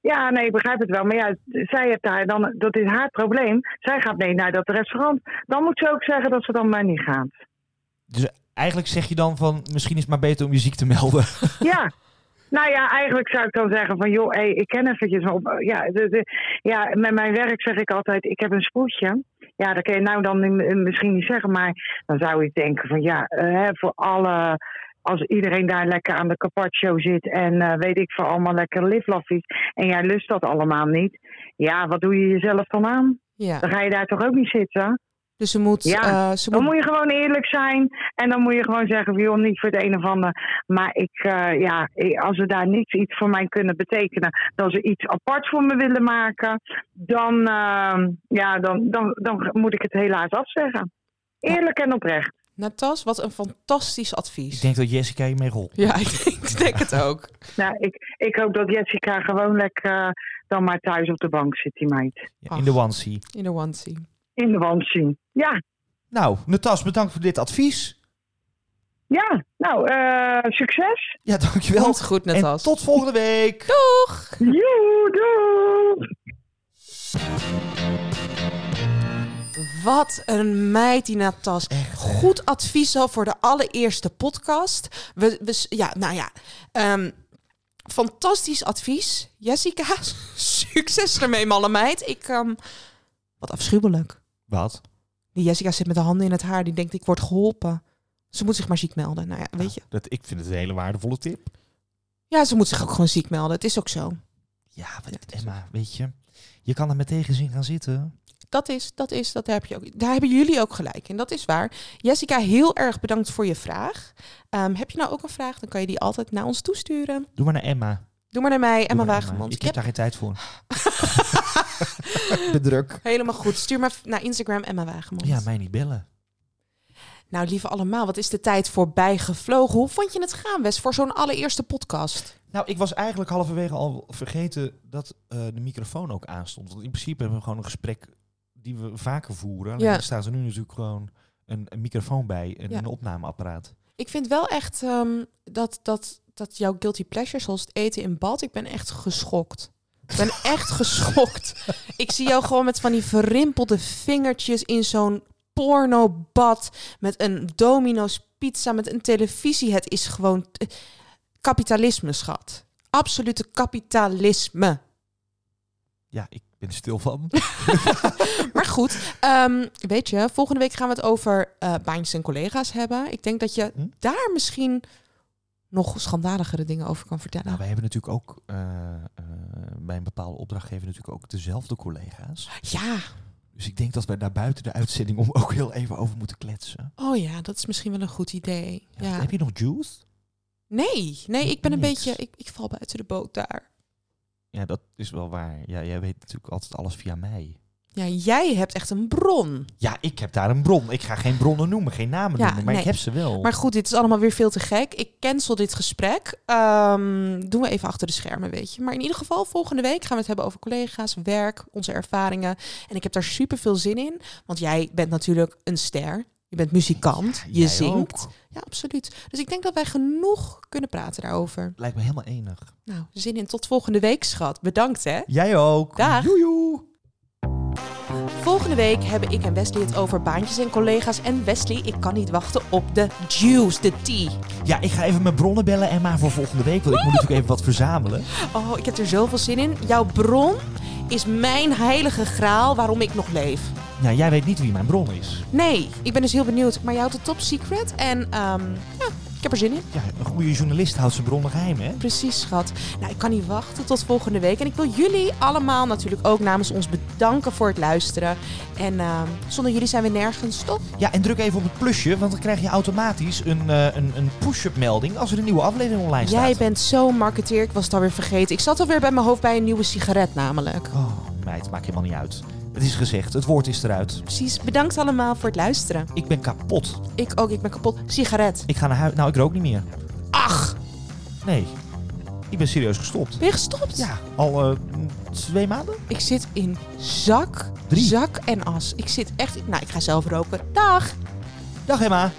Speaker 4: Ja, nee, ik begrijp het wel. Maar ja, zij heeft daar dan, dat is haar probleem. Zij gaat mee naar dat restaurant. Dan moet ze ook zeggen dat ze dan maar niet gaat.
Speaker 2: Dus eigenlijk zeg je dan van, misschien is het maar beter om je ziek te melden.
Speaker 4: Ja. Nou ja, eigenlijk zou ik dan zeggen van joh, hey, ik ken eventjes wel op. eh, Ja, de, de- ja, met mijn werk zeg ik altijd, ik heb een spoedje. Ja, dat kan je nou dan in- in misschien niet zeggen, maar dan zou ik denken van ja, eh, hè, voor alle, als iedereen daar lekker aan de carpaccio zit en eh, weet ik voor allemaal lekker liflaffies en jij lust dat allemaal niet. Ja, wat doe je jezelf dan aan?
Speaker 1: Ja.
Speaker 4: Dan ga je daar toch ook niet zitten?
Speaker 1: Dus ze moet.
Speaker 4: Ja,
Speaker 1: eh, ze moet,
Speaker 4: Dan moet je gewoon eerlijk zijn. En dan moet je gewoon zeggen, van, joh, niet voor het een of ander. Maar ik, eh, ja, ik- als ze daar niks iets voor mij kunnen betekenen, dat ze iets apart voor me willen maken, dan, ehm, ja, dan, dan, dan moet ik het helaas afzeggen. Eerlijk en oprecht.
Speaker 1: Natas, wat een fantastisch advies.
Speaker 2: Ik denk dat Jessica je mee rolt.
Speaker 1: Ja, ik denk, ik denk het ook.
Speaker 4: Nou, ik, ik hoop dat Jessica gewoon lekker eh, dan maar thuis op de bank zit, die meid.
Speaker 2: Ja,
Speaker 1: Ach.
Speaker 2: in de onesie.
Speaker 1: In de onesie.
Speaker 4: In de wand zien. Ja,
Speaker 2: Nou, Natas, bedankt voor dit advies.
Speaker 4: ja. Nou, eh, succes.
Speaker 2: Ja, dankjewel.
Speaker 1: Komt goed,
Speaker 2: en
Speaker 1: Natas.
Speaker 2: tot volgende week.
Speaker 1: Doeg!
Speaker 4: Joe, doei!
Speaker 1: Wat een meid die Natas. Goed advies al voor de allereerste podcast. We, we, s- ja, nou ja. ehm, fantastisch advies. Jessica, succes ermee, malle meid. Ik, ehm, wat afschuwelijk.
Speaker 2: Wat?
Speaker 1: Die Jessica zit met de handen in het haar. Die denkt, ik word geholpen. Ze moet zich maar ziek melden. Nou ja, weet je.
Speaker 2: Dat, ik vind het een hele waardevolle tip.
Speaker 1: Ja, ze moet zich ook gewoon ziek melden. Het is ook zo.
Speaker 2: Ja,
Speaker 1: Ja,
Speaker 2: wat,
Speaker 1: het is
Speaker 2: Emma, weet je, je kan er met tegenzin gaan zitten.
Speaker 1: Dat is, dat is, dat heb je ook. Daar hebben jullie ook gelijk in. Dat is waar. Jessica, heel erg bedankt voor je vraag. Ehm, heb je nou ook een vraag? Dan kan je die altijd naar ons toesturen.
Speaker 2: Doe maar naar Emma.
Speaker 1: Doe maar naar mij,
Speaker 2: Doe
Speaker 1: Emma
Speaker 2: maar naar
Speaker 1: Wagemans.
Speaker 2: Ik
Speaker 1: Ik heb
Speaker 2: heb daar geen tijd voor. Ik ben druk.
Speaker 1: helemaal goed. Stuur maar naar Instagram, Emma Wagemans.
Speaker 2: Ja, mij niet bellen.
Speaker 1: Nou, lieve allemaal, wat is de tijd voorbij gevlogen? Hoe vond je het gaan, Wes, voor zo'n allereerste podcast?
Speaker 2: Nou, ik was eigenlijk halverwege al vergeten dat eh, de microfoon ook aanstond. Want in principe hebben we gewoon een gesprek die we vaker voeren. Alleen
Speaker 1: Ja.
Speaker 2: er staat er nu natuurlijk gewoon een, een microfoon bij en
Speaker 1: Ja.
Speaker 2: een opnameapparaat.
Speaker 1: Ik vind wel echt ehm, dat, dat, dat jouw guilty pleasures, zoals het eten in bad, ik ben echt geschokt. Ik ben echt geschokt. Ik zie jou gewoon met van die verrimpelde vingertjes in zo'n pornobad. Met een domino's pizza, met een televisie. Het is gewoon eh, kapitalisme, schat. Absolute kapitalisme.
Speaker 2: Ja, ik ben er stil van.
Speaker 1: Maar goed, ehm, weet je, volgende week gaan we het over eh baantjes en collega's hebben. Ik denk dat je
Speaker 2: Hm?
Speaker 1: daar misschien nog schandaligere dingen over kan vertellen.
Speaker 2: Nou, wij hebben natuurlijk ook eh, eh, bij een bepaalde opdrachtgever natuurlijk ook dezelfde collega's.
Speaker 1: ja,
Speaker 2: Dus ik denk dat wij daar buiten de uitzending om ook heel even over moeten kletsen.
Speaker 1: oh ja, dat is misschien wel een goed idee.
Speaker 2: Ja,
Speaker 1: Ja.
Speaker 2: Heb je nog juice?
Speaker 1: Nee, nee, ik ben een
Speaker 2: Niks.
Speaker 1: beetje, ik, ik val buiten de boot daar.
Speaker 2: Ja, dat is wel waar. Ja, jij weet natuurlijk altijd alles via mij.
Speaker 1: Ja, jij hebt echt een bron.
Speaker 2: Ja, ik heb daar een bron. Ik ga geen bronnen noemen, geen namen
Speaker 1: Ja,
Speaker 2: noemen, maar ik
Speaker 1: nee.
Speaker 2: heb ze wel.
Speaker 1: Maar goed, dit is allemaal weer veel te gek. Ik cancel dit gesprek. Ehm, doen we even achter de schermen, weet je. Maar in ieder geval, volgende week gaan we het hebben over collega's, werk, onze ervaringen. En ik heb daar super veel zin in. Want jij bent natuurlijk een ster. Je bent muzikant.
Speaker 2: Ja,
Speaker 1: je
Speaker 2: jij
Speaker 1: zingt.
Speaker 2: ook.
Speaker 1: Ja, absoluut. Dus ik denk dat wij genoeg kunnen praten daarover.
Speaker 2: Lijkt me helemaal enig.
Speaker 1: Nou, zin in. Tot volgende week, schat. Bedankt, hè.
Speaker 2: Jij ook.
Speaker 1: Dag.
Speaker 2: Joe, joe.
Speaker 1: Volgende week hebben ik en Wesley het over baantjes en collega's. En Wesley, ik kan niet wachten op de juice, de tea.
Speaker 2: Ja, ik ga even mijn bronnen bellen, Emma, voor volgende week. Want ik moet natuurlijk even wat verzamelen.
Speaker 1: Oh, ik heb er zoveel zin in. Jouw bron is mijn heilige graal waarom ik nog leef.
Speaker 2: Ja, jij weet niet wie mijn bron is.
Speaker 1: Nee, ik ben dus heel benieuwd. Maar jij houdt het top secret en ehm, ja, ik heb er zin in.
Speaker 2: Ja, een goede journalist houdt zijn bronnen geheim, hè?
Speaker 1: Precies, schat. Nou, ik kan niet wachten tot volgende week. En ik wil jullie allemaal natuurlijk ook namens ons bedanken voor het luisteren. En ehm, zonder jullie zijn we nergens, toch?
Speaker 2: Ja, en druk even op het plusje, want dan krijg je automatisch een, eh, een, een push-up melding als er een nieuwe aflevering online staat.
Speaker 1: Jij bent zo'n marketeer, ik was het alweer vergeten. Ik zat alweer bij mijn hoofd bij een nieuwe sigaret namelijk.
Speaker 2: Oh, meid, maakt helemaal niet uit. Het is gezegd, het woord is eruit.
Speaker 1: Precies, bedankt allemaal voor het luisteren.
Speaker 2: Ik ben kapot.
Speaker 1: Ik ook, ik ben kapot. Sigaret.
Speaker 2: Ik ga naar huis. Nou, ik rook niet meer.
Speaker 1: Ach,
Speaker 2: Nee, ik ben serieus gestopt.
Speaker 1: ben je gestopt?
Speaker 2: Ja, al eh, twee maanden?
Speaker 1: Ik zit in zak,
Speaker 2: Drie.
Speaker 1: zak en as. Ik zit echt... Nou, ik ga zelf roken. Dag!
Speaker 2: Dag Emma.